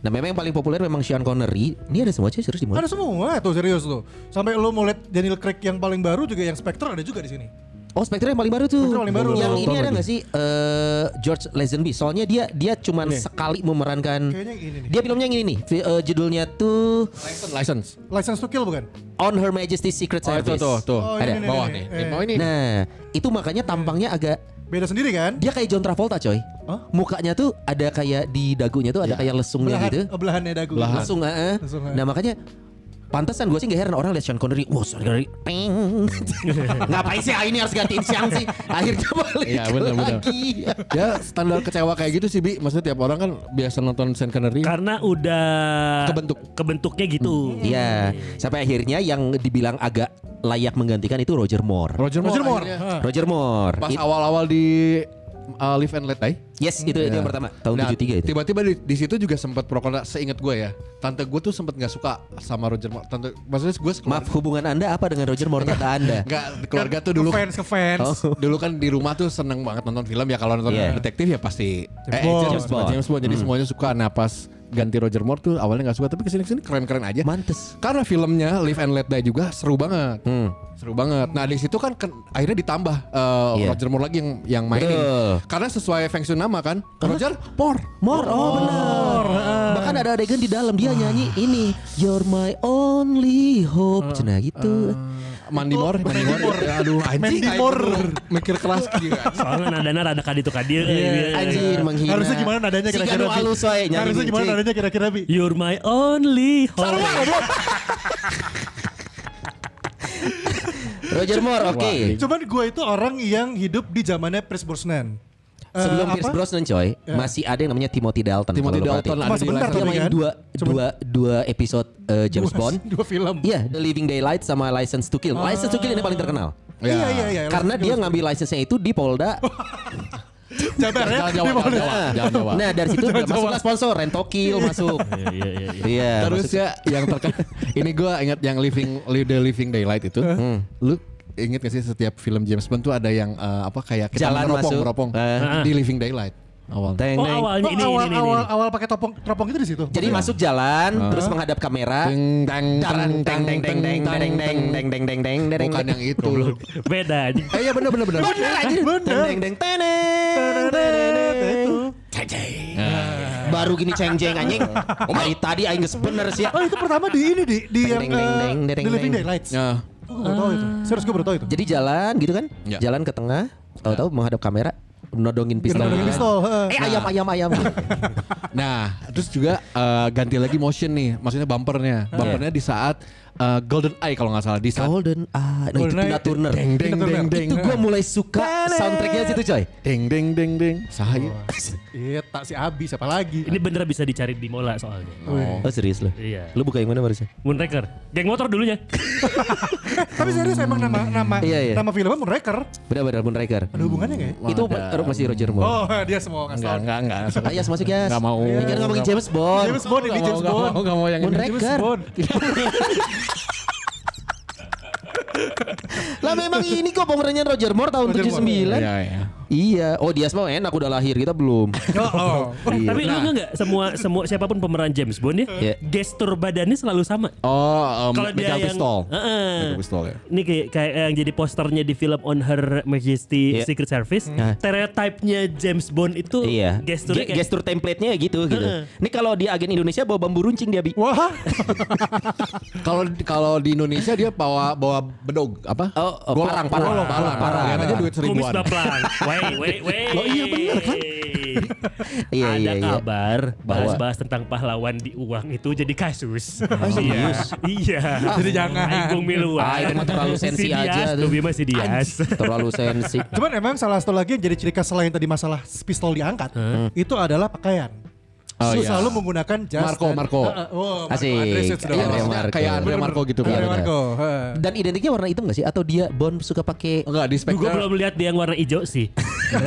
Nah, memang yang paling populer memang Sean Connery. Ini ada semua sih serius di mana? Ada semua tuh serius tuh. Sampai lo mau lihat Daniel Craig yang paling baru juga yang Spectre ada juga di sini. Hmm. Oh Spectre yang paling baru tuh. Spectre yang paling baru. Oh, Yang Belum ini ada nggak sih eh, George Lazenby? Soalnya dia dia cuman sekali memerankan. Kayaknya yang ini nih. Dia filmnya yang ini nih. Fi- eh, judulnya tuh license license. Oh, License to Kill bukan? On Her Majesty's Secret Oh, itu Service. tuh, tuh. Oh, Ada. ini, Bawah ini, nih. ini. Oh, ini. Nah, itu makanya tampangnya agak Beda sendiri kan? dia kayak John Travolta coy. Hah? Mukanya tuh ada kayak di dagunya tuh ada kayak lesungnya Belahan, gitu. eh, belahannya dagu. Lesung, heeh. Lesung, heeh. Nah, makanya Pantesan gue sih gak heran orang lihat Sean Connery, wah Sean Connery, peng. Ngapain sih ah ini harus gantiin siang sih? Akhirnya balik Iya, bener, bener. lagi. ya standar kecewa kayak gitu sih Bi maksudnya tiap orang kan biasa nonton Sean Connery Karena udah Iya. Kebentuk. kebentuknya gitu. Iya, sampai akhirnya yang dibilang agak layak menggantikan itu Roger Moore. Roger Moore, Roger Moore. akhirnya. Hah. Roger Moore. pas It- awal-awal di uh, Live and Let Die yes, itu, itu yang pertama tahun Nah, 73 itu. Tiba-tiba di, di situ juga sempat pro kontra seingat gue ya. Tante gue tuh sempat nggak suka sama Roger Moore. Tante maksudnya gue Maaf, hubungan Anda apa dengan Roger Moore kata Anda? Enggak, keluarga tuh dulu fans ke fans. Oh. dulu kan di rumah tuh seneng banget nonton film ya kalau nonton Iya. detektif ya pasti James Bond. James Bond. James Bond. Jadi semuanya suka. Nah pas ganti Roger Moore tuh awalnya nggak suka tapi kesini kesini keren keren aja. Mantes. Karena filmnya Live and Let Die juga seru banget. Seru banget. Nah di situ kan ken- akhirnya ditambah uh, Iya. Roger Moore lagi yang yang mainin. Betul. Karena sesuai feng shui nama kan. Roger Moore. Moore, oh, benar. Bahkan ada adegan di dalam dia nyanyi ini, You're my only hope. Nah gitu. Mandi Moore, Mandi Moore. Ya, Aduh anjing. Mandy Moore. Mikir keras gitu. Soalnya kan nadana rada kadi tuh Iya. kadir. Iya, Anjir menghina. Iya. Harusnya gimana nadanya Si kira-kira? Ganu Bi? alus wae, nyari Harusnya gimana kucing. Iya. nadanya kira-kira Bi? You're my only hope. Roger Moore, oke. Cuman gue itu orang yang hidup di zamannya Pierce Brosnan. Eh, Sebelum Pierce apa? Iya. Brosnan coy, masih ada yang namanya Timothy Dalton. Timothy kalau lu Dalton perhatiin. ada Cuma di sebentar Live tuh, Dia and Let Die. tapi main kan? dua, Cuman- dua, dua episode eh, James Dua- Ah. Bond. Dua film. Iya, The Living Daylight sama License to Kill. License to Kill ini paling terkenal. Iya. Iya iya iya. Karena dia ngambil license-nya itu di Polda. Jabar ya. Di mana? Jangan Jawa, jangan Jawa, jangan Jawa. Nah, dari situ udah masuklah sponsor Rentokil masuk. Iya, iya, iya, iya. Iya. Terus ya yang terkenal ini gue ingat yang living Li- the living daylight itu. Hmm. Lu inget gak sih setiap film James Bond tuh ada yang eh, apa kayak kita Jalan meropong masuk. meropong Eh. di living daylight awal. Teng, Oh neng. awalnya Oh, ini, awal, ini, ini, awal, ini. awal pakai topong teropong itu di situ. Iya. Jadi masuk jalan, terus menghadap kamera. Teng teng Tarang, Ah. teng, teng, teng, teng, teng, teng, teng, teng, teng, teng, teng. Bukan yang itu. Beda anjing. Eh iya bener bener bener. Bener, anjir. Bener. Teng, teng, teng, teng, teng, teng. Itu. Ceng, ceng. Baru gini ceng ceng anjing. Dari tadi aing geus bener sih. Oh itu pertama di ini di di Deng, yang deng, deng, eh, deng, deng, di Living deng. Ah. Daylights. Nah, Gue baru tahu itu. Serius gue baru tahu itu. Jadi jalan gitu kan? Ya. Jalan ke tengah, tahu-tahu menghadap kamera, nodongin pistol. Nodongin pistol, heeh. Eh ayam ayam ayam. nah terus juga eh, ganti lagi motion nih, maksudnya bumpernya, bumpernya di saat eh, Golden Eye kalau nggak salah di saat Ah. Golden ah, nah itu Golden Tina Eye. Turner. deng deng deng deng Itu gue mulai suka soundtracknya situ coy. deng deng deng deng Sahaya. Oh. Iya tak si Abi siapa lagi? Ini bener bisa dicari di mola soalnya. Oh serius lo? Iya. Lo buka yang mana barusan? Moonraker. Geng motor dulunya. Tapi serius emang nama nama Iya, iya. nama filmnya Moonraker. Benar-benar Moonraker. Ada hubungannya nggak ya? Itu Wadah. masih Roger Moore. Oh dia semua ngasih Hmm. Enggak tahu. enggak enggak. Ayas masuk ya. Nggak mau. Ini kan ngomongin James Bond. James Bond ini Nggak James nggak Bond. mau, nggak mau yang ini. Moonraker. Lah memang ini kok pemerannya Roger Moore tahun Roger 79. Moore. Iya, iya. Iya. Oh dia semua enak udah lahir kita belum. Oh, Eh, Tapi lu enggak enggak semua semua siapapun pemeran James Bond ya, Iya. gestur badannya selalu sama. Oh, um, Kalau dia Metal yang- Pistol. Heeh. Metal Pistol ya. Ini kayak, kayak yang jadi posternya di film On Her Majesty Iya. Secret Service. Hmm. Stereotipnya James Bond itu Iya. gesturnya Ge- kayak gestur template-nya ya gitu gitu. Ini kalau di agen Indonesia bawa bambu runcing dia bi. wah. Kalau kalau di Indonesia dia bawa bawa bedog apa? Oh, oh, Golok. parang, parang. Golok, parang, Parang, parang. Lihat aja parang. duit kumis seribuan. baplang. Wey, wey, wey. Oh, iya bener kan? Iya, Ada iya, iya. kabar Bahwa- bahas-bahas tentang pahlawan di uang itu jadi kasus. iya. Oh, serius? iya. Jadi jangan. Agung miluan. Ah, itu mah terlalu sensi Si Dias, aja tuh tuh. Bima si Dias. Terlalu sensi. Cuman emang salah satu lagi yang jadi ciri khas selain tadi masalah pistol diangkat, itu adalah pakaian. Oh, Su iya. selalu menggunakan jas Marco, dan- Marco. Heeh, oh, Marco Asik. Andres Yates dong. Andrea Iya, Andrea maksudnya Marco. kayak Andrea Marco gitu kan. Andrea Marco. ah. heeh. Dan identiknya warna hitam gak sih? Atau dia Bond suka pakai Enggak di Gue Spectre. belum lihat dia yang warna hijau sih.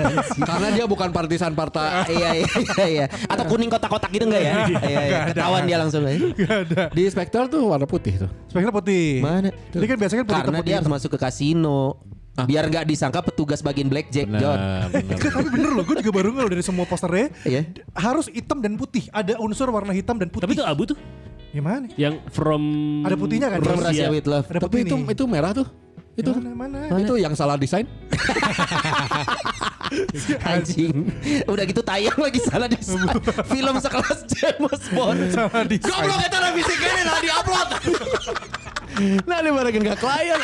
Karena dia bukan partisan partai. iya iya iya iya. Atau kuning kotak-kotak gitu enggak ya? Iya iya. Ketahuan dia langsung. Gak ada. Eh, Di Spectre tuh warna putih tuh. Speknya putih. Mana? Ini kan biasanya kan putih Karena hitam, dia harus putih. masuk ke kasino. Biar nggak disangka petugas bagian blackjack John. benar. Tapi bener loh, gue juga baru ngel dari semua posternya. Iya. d- Harus hitam dan putih. Ada unsur warna hitam dan putih. Ya, Tapi itu abu tuh Gimana? yang from Ada putihnya kan? From Russia Rusia. with Love. Ada Tapi putih itu nih. itu merah tuh. Itu kan? Yang mana? mana? itu yang salah desain. Anjing. Udah gitu tayang lagi salah di film sekelas James Bond. Salah desain. Goblok eta revisi gini lah di upload. Nah, dia mereka enggak klien.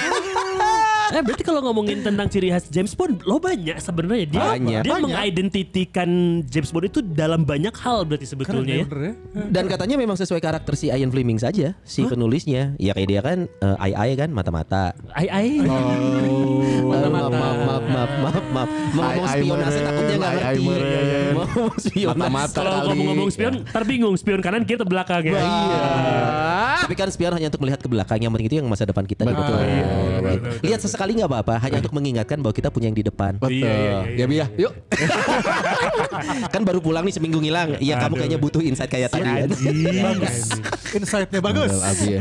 Eh berarti kalau ngomongin tentang ciri khas James Bond, lo banyak sebenarnya dia Banyak. dia Banyak. mengidentitikan James Bond itu dalam banyak hal Keren berarti ya sebetulnya. ya. bener ya. Dan katanya memang sesuai karakter si Ian Fleming saja si penulisnya. Ya kayak dia kan eh, ai ai kan mata-mata. Ai ai. Oh, Maaf maaf maaf maaf maaf maaf. maaf. Mau ngomong Ai-ai spionase meren, takutnya nggak ai-ai ngerti. Iya, meren. Mau ngomong spionase. Mata-mata. Kalau Kali. ngomong-ngomong Iya. spion, ntar bingung spion kanan kiri atau belakang ya. Ah, Tapi kan spion hanya untuk melihat ke belakang. Yang penting itu yang masa depan kita. Betul. Gitu. Lihat sesekali nggak apa-apa. Hanya untuk mengingatkan bahwa kita punya yang di depan. Betul. Ya Bi ya, yuk. Kan baru pulang nih seminggu ngilang. Iya kamu kayaknya butuh insight kayak tadi. kan. Iya. Iya. Bagus. Insight-nya bagus. Betul, Abi ya.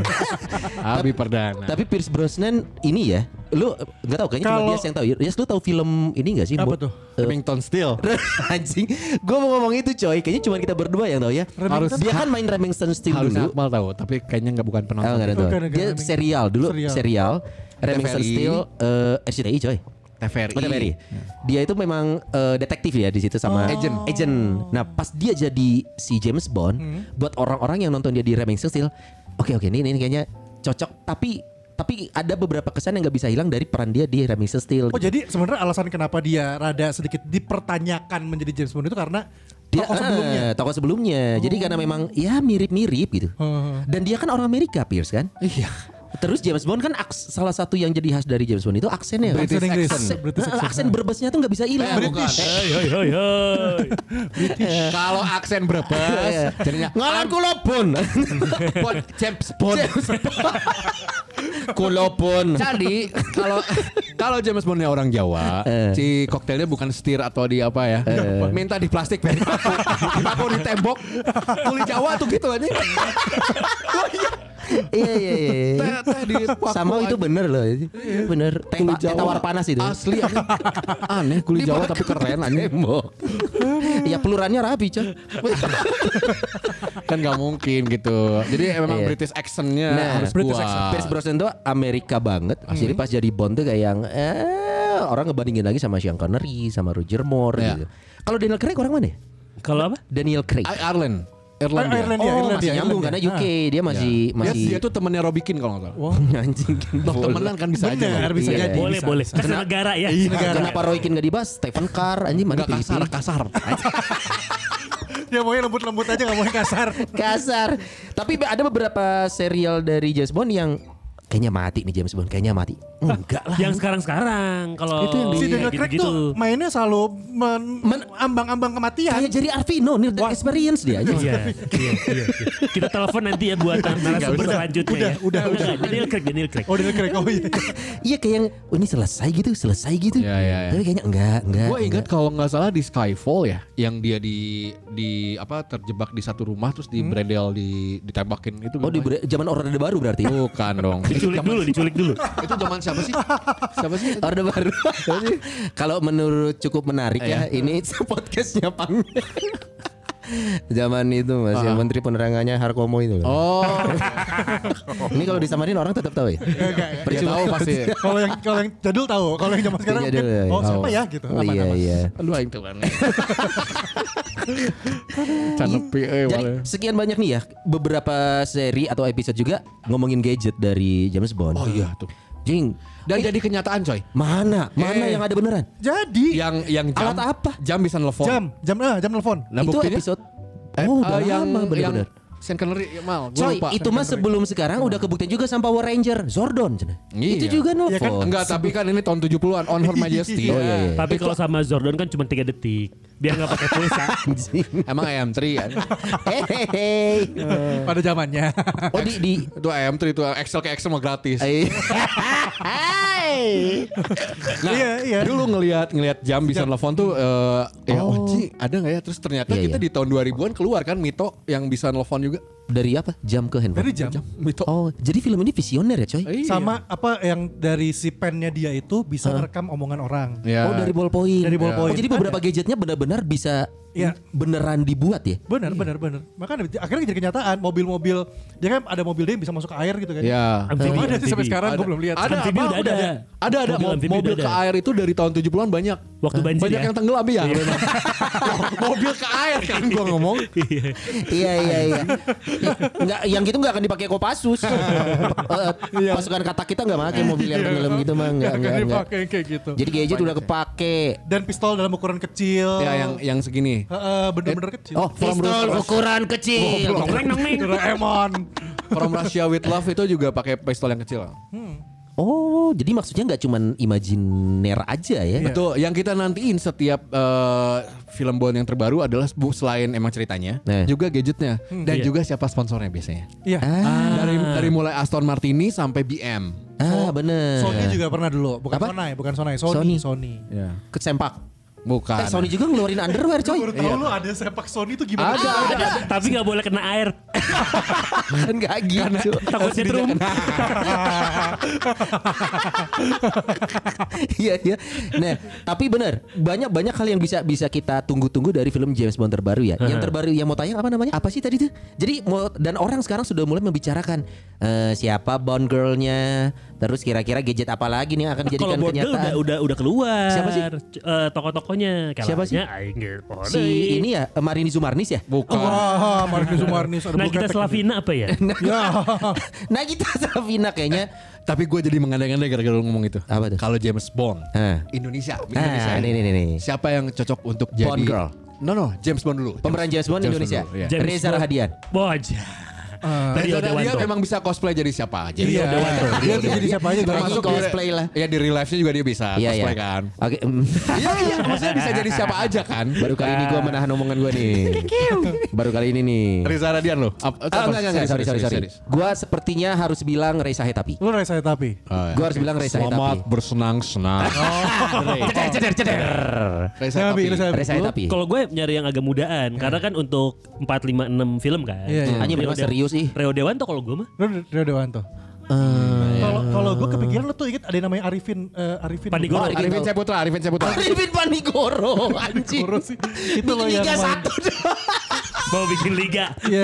Abi perdana. Tapi Pierce Brosnan ini ya, lu eh, nggak tahu kayaknya cuma Kalau- dia yang tahu. Yes, lu tahu film ini nggak sih? Apa Bo- tuh? eh, Remington Steel. anjing, gue mau ngomong itu coy. Kayaknya cuma kita berdua yang tahu ya. Remington? dia kan main Remington Steel Harus dulu. Akmal tahu, tapi kayaknya nggak bukan Oh, nggak penonton. ada tahu. Bukan, bukan Dia Remington. serial dulu, Serial. serial. Remington TVRI. Steel, eh RCTI coy. TVRI. Mata Berry. Dia itu memang eh, detektif ya di situ sama Oh. Agent. Agent. Nah, pas dia jadi si James Bond, Hmm. buat orang-orang yang nonton dia di Remington Steel, oke oke ini ini kayaknya cocok tapi tapi ada beberapa kesan yang nggak bisa hilang dari peran dia di Remington Steel. Oh jadi sebenarnya alasan kenapa dia rada sedikit dipertanyakan menjadi James Bond itu karena dia tokoh sebelumnya. Oh. eh, tokoh sebelumnya. Jadi karena memang ya mirip-mirip gitu. Hmm. Dan dia kan orang Amerika, Pierce kan? Iya. Terus James Bond kan aks- salah satu yang jadi khas dari James Bond itu aksennya. kan? British Aksen- English. aksen, British Nah, accent. aksen berbesnya tuh nggak bisa Eh, hilang. Hei hei hei hei. Kalau aksen berbes, Iya. jadinya Ngalan kula pun. Bond, James Bond. Kula pun. Jadi kalau kalau James Bondnya orang Jawa, Eh. si koktelnya bukan setir atau di apa ya, minta di plastik Ben. Dipaku di tembok, tuli Jawa tuh gitu aja. Iya iya iya. Teh- teh di paku Sama itu aja. bener loh. Bener. Teh, Kulit teh Jawa. tawar panas itu. Asli aneh. Aneh kulit Jawa tapi keren aneh. Iya pelurannya rapi coy. Kan gak mungkin gitu. Jadi emang Iya. British accentnya Nah, Hmm. harus British kuat. accent. Pierce Brosnan tuh Amerika banget. Jadi pas jadi Bond tuh kayak yang eh, orang ngebandingin lagi sama Sean Connery, sama Roger Moore Iya. gitu. Kalau Daniel Craig orang mana? ya? Kalau apa? Daniel Craig. I- Ireland. Ah, Ireland. Irlandia. oh, Irlandia, masih Irlandia. Ah, nyambung Ah. karena UK dia masih iya, Dia, masih dia tuh temennya Robikin kalau nggak salah. anjing. Loh, temenan kan bisa aja. Bener, Bang. bisa Iya, Iya. jadi. Boleh bisa. boleh. Kan negara ya. Negara. Kenapa Roy Keane gak dibahas? Stephen Carr anjing mana Nggak kasar, pilih-pilih. kasar. Dia maunya Ya, lembut-lembut aja nggak mau yang kasar. kasar. Tapi ada beberapa serial dari James Bond yang kayaknya mati nih James Bond, kayaknya mati. Enggak lah. Yang sekarang-sekarang kalau Itu yang Si Daniel Craig Oh, iya, gitu-gitu. tuh mainnya selalu men- ambang-ambang kematian. kayak Jerry Arvino nih the experience dia aja. Iya, iya, iya. Kita telepon nanti ya buat narasumber selanjutnya udah, udah, ya. Nggak, udah. nggak, Daniel Craig, Daniel Craig. Oh Daniel Craig, oh iya. Iya kayak yang oh, ini selesai gitu, selesai gitu. Iya, iya, iya. Tapi kayaknya enggak, enggak. Gue ingat kalau nggak salah di Skyfall ya, yang dia di di apa terjebak di satu rumah terus di bredel di ditembakin itu. enggak. Oh di gimana? ber- zaman Orde Baru berarti. Bukan dong. Diculik dulu, diculik dulu. itu zaman siapa sih? Siapa sih? Orde Baru. Kalau menurut cukup menarik Iya. ya, ini podcastnya Pang. zaman itu Mas, yang Menteri Penerangannya Harkomo itu. loh. Ah. Oh, Iya, Ini kalau disamarin orang tetap tahu ya. enggak, enggak. dia Iya, tahu pasti. iya. Kalau yang kalau yang jadul tahu, kalau yang zaman sekarang Jadul, mungkin, ya, ya. oh siapa ya gitu. Oh, iya, iya. Lu aing tuh aneh. Canepi Jadi eh malah. sekian banyak nih ya beberapa seri atau episode juga ngomongin gadget dari James Bond. Oh iya tuh. Jing, Dan jadi kenyataan coy. mana Eh. mana yang ada beneran? Jadi Yang yang jam Alat apa? Jam bisa nelfon. jam, jam eh, jam telepon. Nah, itu buktinya- episode Eh, Oh, oh, udah yang lama yang bener-bener. Sean Connery, ya, mal. gua Coy, lupa. itu mah sebelum sekarang udah kebuktian juga sama Power Ranger, Zordon. cenah. Iya. Itu juga nelfon. Iya kan? Enggak, tapi kan ini tahun 70-an On Her Majesty. Oh, iya, iya. Tapi kalau sama Zordon kan cuma 3 detik. Dia nggak pakai pulsa. Emang AM3 ya? Hehehe. Eh, Pada zamannya. Oh di di itu AM3 itu Excel ke Excel mah gratis. eh. Nah, Iya, iya. dulu ngelihat ngelihat jam bisa nelfon tuh eh, ya oh, Oh. Ci, ada nggak ya? Terus ternyata Iya, kita iya. di tahun 2000-an keluar kan Mito yang bisa nelfon juga. dari apa? Jam ke handphone. Dari jam. Mito. Oh, jadi film ini visioner ya, coy. Iya. Sama apa yang dari si pennya dia itu bisa merekam omongan orang. Ya. Oh, dari ballpoint. Dari Oh, ballpoint. jadi beberapa gadgetnya benar-benar bisa Iya. beneran dibuat ya? Benar, benar, Iya. benar. Makanya akhirnya jadi kenyataan mobil-mobil dia kan ada mobil dia yang bisa masuk ke air gitu kan. Ya. Amfibi, Belum ada sih sampai amfibi. sekarang gue Ada- belum lihat. Ada Amfibi apa? udah ada. Ada ada Mobil Mo- amfibi mobil udah ke ada. air itu dari tahun 70-an banyak. Waktu Hah? banjir Banyak ya? yang tenggelam ya. Iya, memang. Loh, mobil ke air kan gua ngomong. iya iya iya. Nggak, yang gitu nggak akan dipakai Kopassus. Eh, Iya. Pasukan kata kita nggak pakai mobil yang tenggelam gitu mah nggak nggak nggak. dipakai kayak gitu. Iya, Jadi gadget udah kepake. Dan pistol dalam ukuran kecil. Ya yang yang segini. Heeh, bener-bener kecil. Oh, from Pistol Rus- ukuran kecil. Doraemon. From Russia with Love itu juga pakai pistol yang kecil. Oh, jadi maksudnya nggak cuman imajiner aja ya? Iya, Betul. Yang kita nantiin setiap eh, film Bond yang terbaru adalah bu- selain emang ceritanya, Nah. juga gadgetnya dan Iya. juga siapa sponsornya biasanya. Iya. Dari dari mulai Aston Martini sampai BM. Ah bener. Sony juga pernah dulu, bukan Apa? Sony, bukan Sony, Sony, Sony. Sony. Iya. Ya. kesempak. Bukan. Eh, Sony juga ngeluarin underwear coy. Baru tahu lu ada sepak Sony itu gimana? Ada, ada. Tapi nggak boleh kena air. Kan nggak gitu. Takut setrum. Iya iya. Nah, tapi bener banyak banyak hal yang bisa bisa kita tunggu-tunggu dari film James Bond terbaru ya. Yang terbaru yang mau tayang apa namanya? Apa sih tadi tuh? Jadi mau dan orang sekarang sudah mulai membicarakan eh, siapa Bond girlnya, terus kira-kira gadget apa lagi nih yang akan Kalau dijadikan kan Bondel kenyataan. udah udah udah keluar. Siapa sih? C- eh, tokoh-tokohnya. Siapa sih? Kalanya Aing Gerpone. si ini ya eh, Marini Zumarnis ya. Bukan. Wah, Marcus Sumarnis ada gitu. Nah blue kita capek Slavina apa ya? nah kita Safina kayaknya. Tapi gue jadi mengandang-andang gara-gara lu ngomong itu. Apa tuh? Kalau James Bond, Ah. Indonesia, Ah, ini, ini, ini. Siapa yang cocok untuk jadi Bond girl. No no, James Bond dulu. Pemeran James Bond Indonesia. dulu, iya. James Reza Bond. Rahadian. Boja. Iya. Dan Rio dia Dewanto. memang bisa cosplay jadi siapa aja. Iya, dia Iya, jadi iya. siapa aja Lagi termasuk Termasuk cosplay di- lah. Iya di real life-nya juga dia bisa Iya iya. cosplay kan. Oke. mm. Iya iya, maksudnya bisa jadi siapa aja kan. Baru kali ini gue menahan omongan gue nih. Baru kali ini nih. Riza Radian loh. Ap- Ah, apa? enggak, enggak, enggak, sorry, sorry, sorry. serius. Gue sepertinya harus bilang Reza Hetapi. Lu rasa tapi. Oh, iya. Gua harus bilang Reza Hitapi. Selamat bersenang-senang. Ceder, ceder, ceder. Oh, Reza Saya ambil, Hitapi. saya ambil. Reza Hetapi. Kalau gue nyari yang agak mudaan karena kan untuk 4 5 6 film kan. Iya, iya. Hanya memang Rio De- serius ih. Rio Dewanto kalau gue mah. Lu Rio Dewanto. Kalau kalau gue kepikiran lu tuh inget ada yang namanya Arifin eh, Arifin. Pandigoro. Oh, Arifin Arifin tahu. Saputra, Arifin Saputra. Arifin Panigoro anjing. Panigoro sih. Bikin Itu loh yang Liga main. 1 Mau bikin liga. Iya.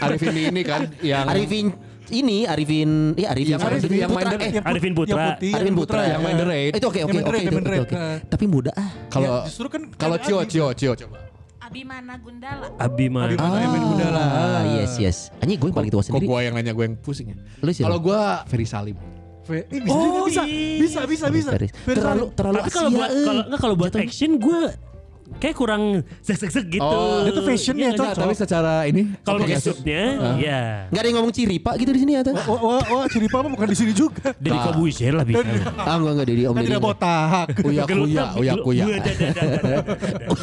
Arifin ini kan yang Arifin ini Arifin ya Arifin Yang sama Arifin, Arifin yang Putra. main the- Eh, Yang put- Arifin Putra. yang ya. putih, Arifin Putra yang main The Raid. Itu oke oke Yang main oke The Raid, itu yang main oke, The oke. Raid. Tapi muda ah. Kalau kalau justru kan kalau ada Cio Adi. Cio Cio coba. Abimana Gundala. Abimana. Abimana. Ah, yang main muda lah. Ah, yes yes. Anjing gue yang paling tua Kok sendiri. gue yang nanya gue yang pusing ya? Lu siapa? Kalau gue Ferry Salim. Fe- eh, bisa, Oh, bisa, bisa, bisa, bisa, Garis. bisa. Terlalu terlalu Tapi kalau Asia, buat eh. kalau nggak kalau buat action gue kayak kurang sek-sek gitu. Oh, dia tuh fashionnya Iya, cocok. nggak? Tapi secara ini Kalau pakai aplikasi- suitnya, ya. Gak ada yang ngomong ciri pak gitu di sini atau? Wah, wah, wah, Ciripa mah oh, bukan di sini juga. Dari Kobusier lah bisa. Ah enggak enggak Dedi Om Kan Dedi. tidak botak. Uya Kuya, Uya Kuya. iya,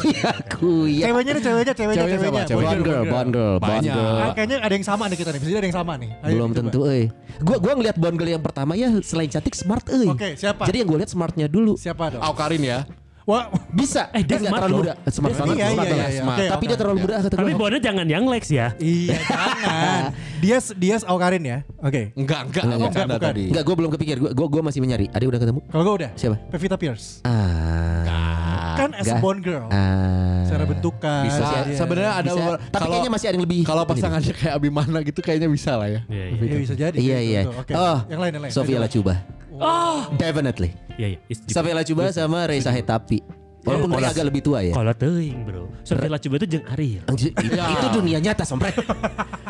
Iya kuya. Ceweknya nih, ceweknya, ceweknya, Ceweknya siapa? ceweknya. Cewek. Bond girl, bond girl, bond Banyak. girl. Ah, kayaknya ada yang sama nih kita nih. Bisa jadi ada yang sama nih. Ayo, Belum coba. tentu eh. Gua gua ngelihat bond girl yang pertama ya selain cantik smart eh. Oke, siapa? Jadi yang gue lihat smartnya dulu. Siapa dong? Au Karin ya. Wah, Bisa. Eh, dia Kan nggak smart terlalu loh. muda. Smart banget. iya, smart iya, banget. iya, smart. oke, Tapi dia oke. terlalu muda kata Tapi gue. bonnya jangan yang Lex ya. Iya, jangan. Dia dia Aukarin ya. Oke. Enggak, enggak, Enggak, bercanda bukan. tadi. Enggak, gue belum kepikir. Gue gua, gua masih mencari. Ada udah ketemu? Kalau gue udah. Siapa? Pevita Pierce. Ah. Kan as a nggak. Bond girl. Ah. Secara bentukan. Iya. Bisa. dia- Sebenarnya ada Bisa. Tapi kalau- kayaknya masih ada yang lebih. Kalau pasangannya kayak Abimana gitu kayaknya bisa lah ya. Iya, iya. Iya bisa jadi. Iya Betul, iya. betul. Oke. Oh, Yang lain yang lain. Sofia Lacuba. Oh, definitely. Iya, iya. It's different. Sofia Lacuba sama Reza Gitu. Hetapi. Walaupun Iya, mereka agak lebih tua ya. Kalau teuing, Bro. Sofia Lacuba itu jeung Ariel. Anjir, i- Iya. Itu dunia nyata sompret.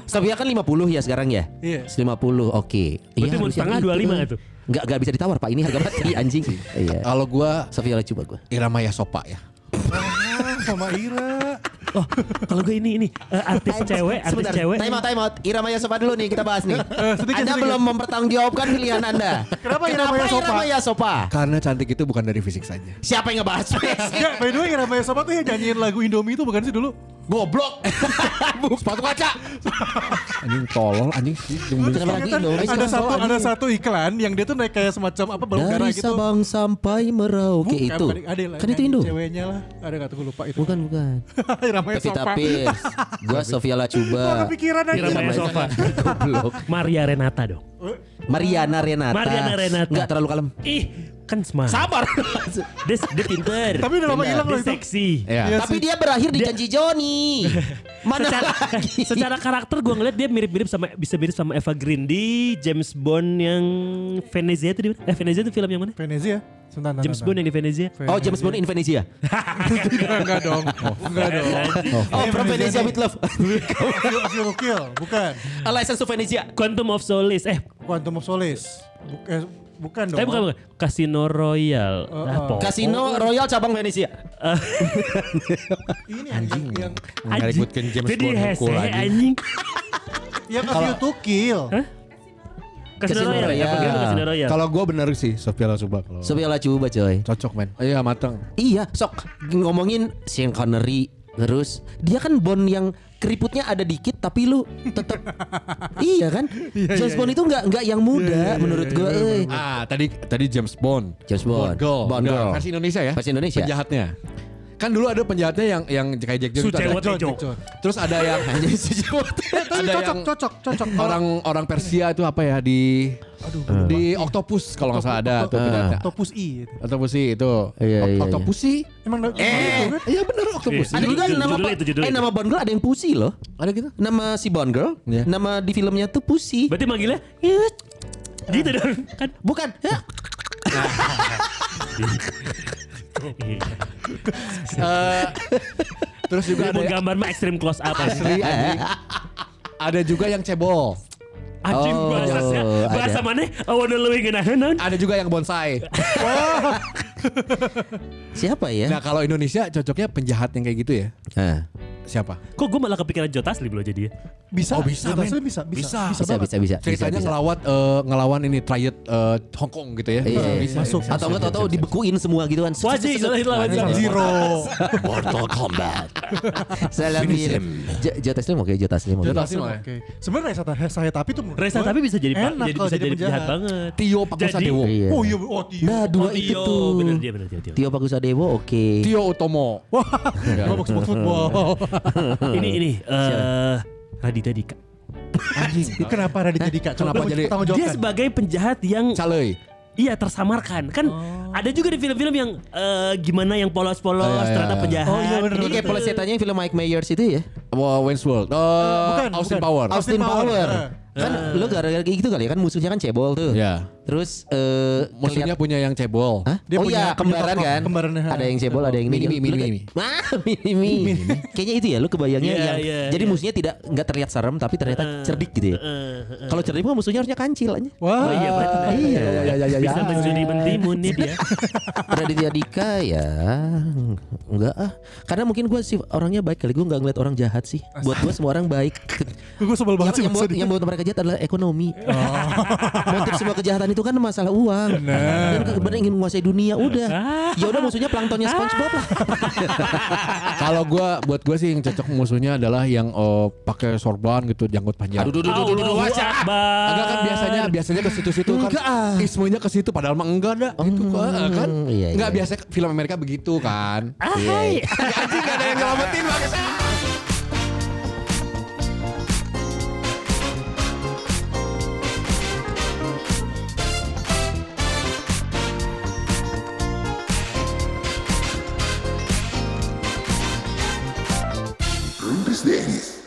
Sofia kan 50 ya sekarang ya? Iya. 50 oke. Iya, Berarti mau setengah 25 tuh. Enggak enggak bisa ditawar Pak, ini harga mati anjing. Iya. Oh. Kalau gua Sofia Lacuba gua. Irama Yasopa ya. Ah, sama Ira. Oh, kalau gue ini ini eh, artis cewek, artis Sebentar, cewek. Time out, time out. Irama Yasopa dulu nih kita bahas nih. Eh, sedikit, anda sedikit. belum mempertanggungjawabkan pilihan Anda. Kenapa Irama Yasopa? Irama Yasopa? Karena cantik itu bukan dari fisik saja. Siapa yang ngebahas? Enggak, by the way Ira Maya Sobat tuh yang nyanyiin lagu Indomie itu bukan sih dulu? Goblok. Sepatu kaca. anjing tolol anjing. Kenapa lagi Kan Indomie? ada satu Soalnya. ada satu iklan yang dia tuh naik kayak semacam apa balon darah Dari gitu. Sabang sampai Merauke Bukan, itu. bukan, ada lah, Kan itu nyanyi Indo. Ceweknya lah. Ada enggak tuh gue lupa itu. Bukan, bukan. Ira Maya Pevita Sobat. Pierce. Gua Sofia Gua Lacuba. kepikiran aja. Irama Yasopa. Goblok. Maria Renata dong. Mariana Renata. Mariana Renata. Enggak terlalu kalem. Ih, kan smart. Sabar. Dia, dia pinter. Tapi udah lama Pinter. hilang Dia loh itu. seksi. Iya. Iya Ya. Tapi sih. dia berakhir di janji Joni. Mana secara, lagi? secara karakter gue ngeliat dia mirip-mirip sama bisa mirip sama Eva Green di James Bond yang Venezia itu di mana? Eh Venezia itu film yang mana? Venezia. Sebentar, James Bond ya, kan? yang di Venezia. Oh James Bond in Venezia. Enggak dong. Enggak dong. Oh From Venezia with Love. Kill, kill, kill. Bukan. A License to Venezia. Quantum of Solace. Eh, Quantum of Solace. Buk- eh, bukan dong. tapi bukan bukan. Casino Royale. Oh, Ah, oh. pokok. Casino Royal cabang Venezia. Ini anjing. Yang, Anjing. Ngeributkan James Jadi Bond hese hukum lagi. anjing. yang kasih to kill. Casino Casino Royale. Eva Green tuh Royale. Casino Royale. Kalau gue bener sih Sofia Lasuba kalau Sobi Allah coba coy. cocok men. Iya mateng. Oh Iya, sok ngomongin Sean Connery terus dia kan Bond yang keriputnya ada dikit tapi lu tetep iya kan James iya. Bond itu nggak nggak yang muda menurut gue eh. Ah tadi tadi James Bond. James Bond. Girl. Bond Enggak, Girl. Versi Indonesia ya. Versi Indonesia. Penjahatnya. Kan dulu ada penjahatnya yang yang kayak Jack Jones itu ada. Sucewo John, Tejo. John. Terus ada yang Anjing, sejawat. Tapi ada cocok, yang cocok, cocok. orang orang Persia itu apa ya di Aduh, di Octopus kalau nggak salah ada Ah. tuh penjahatnya. Octopus I. gitu. Octopus sih itu. Iya, iya, iya. Octopus sih. Emang Eh. kan Iya bener Octopus. Iya. Ada juga Judul- nama judulnya itu, judulnya eh itu. nama Bond Girl ada yang Pussy loh. Ada gitu. Nama si Bond Girl, Iya. nama di filmnya tuh Pussy. Berarti manggilnya gitu dong kan. Bukan. ya. Hah? Nah. Eh, Iya. Terus juga Dia ya? ada mau gambar mah extreme close up aja. asli anjing. Ada juga yang cebol. Anjing Oh, bahasa bahasa ada. mana? I wanna lewing and I don't know. Ada juga yang Eh? bonsai. Siapa ya? Nah kalau Indonesia cocoknya penjahat yang kayak gitu ya. Ah, Siapa? Kok gue malah kepikiran Joe Taslim loh jadi ya. Bisa. Oh, bisa, Betul, men. Bisa, bisa. Bisa. bisa, banget. bisa bisa bisa Ceritanya bisa. ngelawat eh, ngelawan ini triad eh, Hong Kong gitu ya. Iya, Bisa, iya, bisa, masuk. bisa, Atau bisa, enggak bisa, tahu bisa. dibekuin semua gitu kan. Wajib salah lawan Jam Zero. Mortal Kombat. Salam him. Jota Slim oke, Jota Slim oke. Jota Slim. Oke. Oke. Sebenarnya Reza Tah- saya tapi tuh menurut Reza gua tapi bisa jadi enak jadi kalau bisa jadi penjahat penjahat. banget. Tio Pakusadewo. Iya. Oh iya, oh iya. Nah, dua Oh, itu Tio, tuh. bener dia, bener dia, Tio. Tio Pakusadewo oke. Tio Utomo. Oh. Wah, gua box box football. Ini ini eh Raditya Dika. Anjing. Kenapa Raditya Dika? Coba Kenapa gua jadi- tanggung Dia jawabkan. sebagai penjahat yang Calei. iya tersamarkan kan ada juga di film-film yang eh, gimana yang polos-polos Oh, iya, iya, ternyata iya. penjahat. Oh, iya, bener, Ini gitu. kayak pelesetannya film Mike Myers itu ya. Wah, Wayne's World. Eh, bukan, Austin bukan. Power. Aus- Austin Austin Power. Power. Kan lo gara-gara kayak gitu kali ya kan musuhnya kan cebol tuh. Iya. Terus eh Musuhnya punya yang cebol. Hah? Dia oh iya, punya- punya kembaran tokoh, kan. kembarannya. Ada yang cebol, ada yang ini. Mini-mi, Lu- mini-mi. Ah, mini-mi. Kayaknya itu ya, lu kebayangnya Iya, yang iya, jadi iya. musuhnya tidak nggak terlihat serem tapi ternyata cerdik gitu ya. Eh, eh, Kalau cerdik mah musuhnya harusnya kancil aja. Wah, Oh iya benar. iya, iya, iya, iya. Bisa mencuri mentimun nih dia. Raditya Dika ya enggak ah. Karena mungkin gue sih orangnya baik kali gue nggak ngeliat orang jahat sih. Buat gue semua orang baik. gue sebel banget sih yang, yang buat, maksudnya. yang buat mereka jahat adalah ekonomi. Motif semua kejahatan itu kan masalah uang. Dan kebenaran ingin menguasai dunia udah. Ya udah musuhnya planktonnya SpongeBob lah. Kalau gua buat gua sih yang cocok musuhnya adalah yang eh, pakai sorban gitu, janggut panjang. Aduh, duh, duh, duh, duh, duh, duh, Allahu wajar. Akbar. Enggak kan biasanya biasanya ke situ-situ kan Enggak, ah. ismunya ke situ padahal mah enggak ada gitu kan, kan? iya, enggak iya. Ah, biasa film Amerika begitu kan. Ahai. Anjing enggak ada yang nyelamatin bangsa. Rumpis Dennis.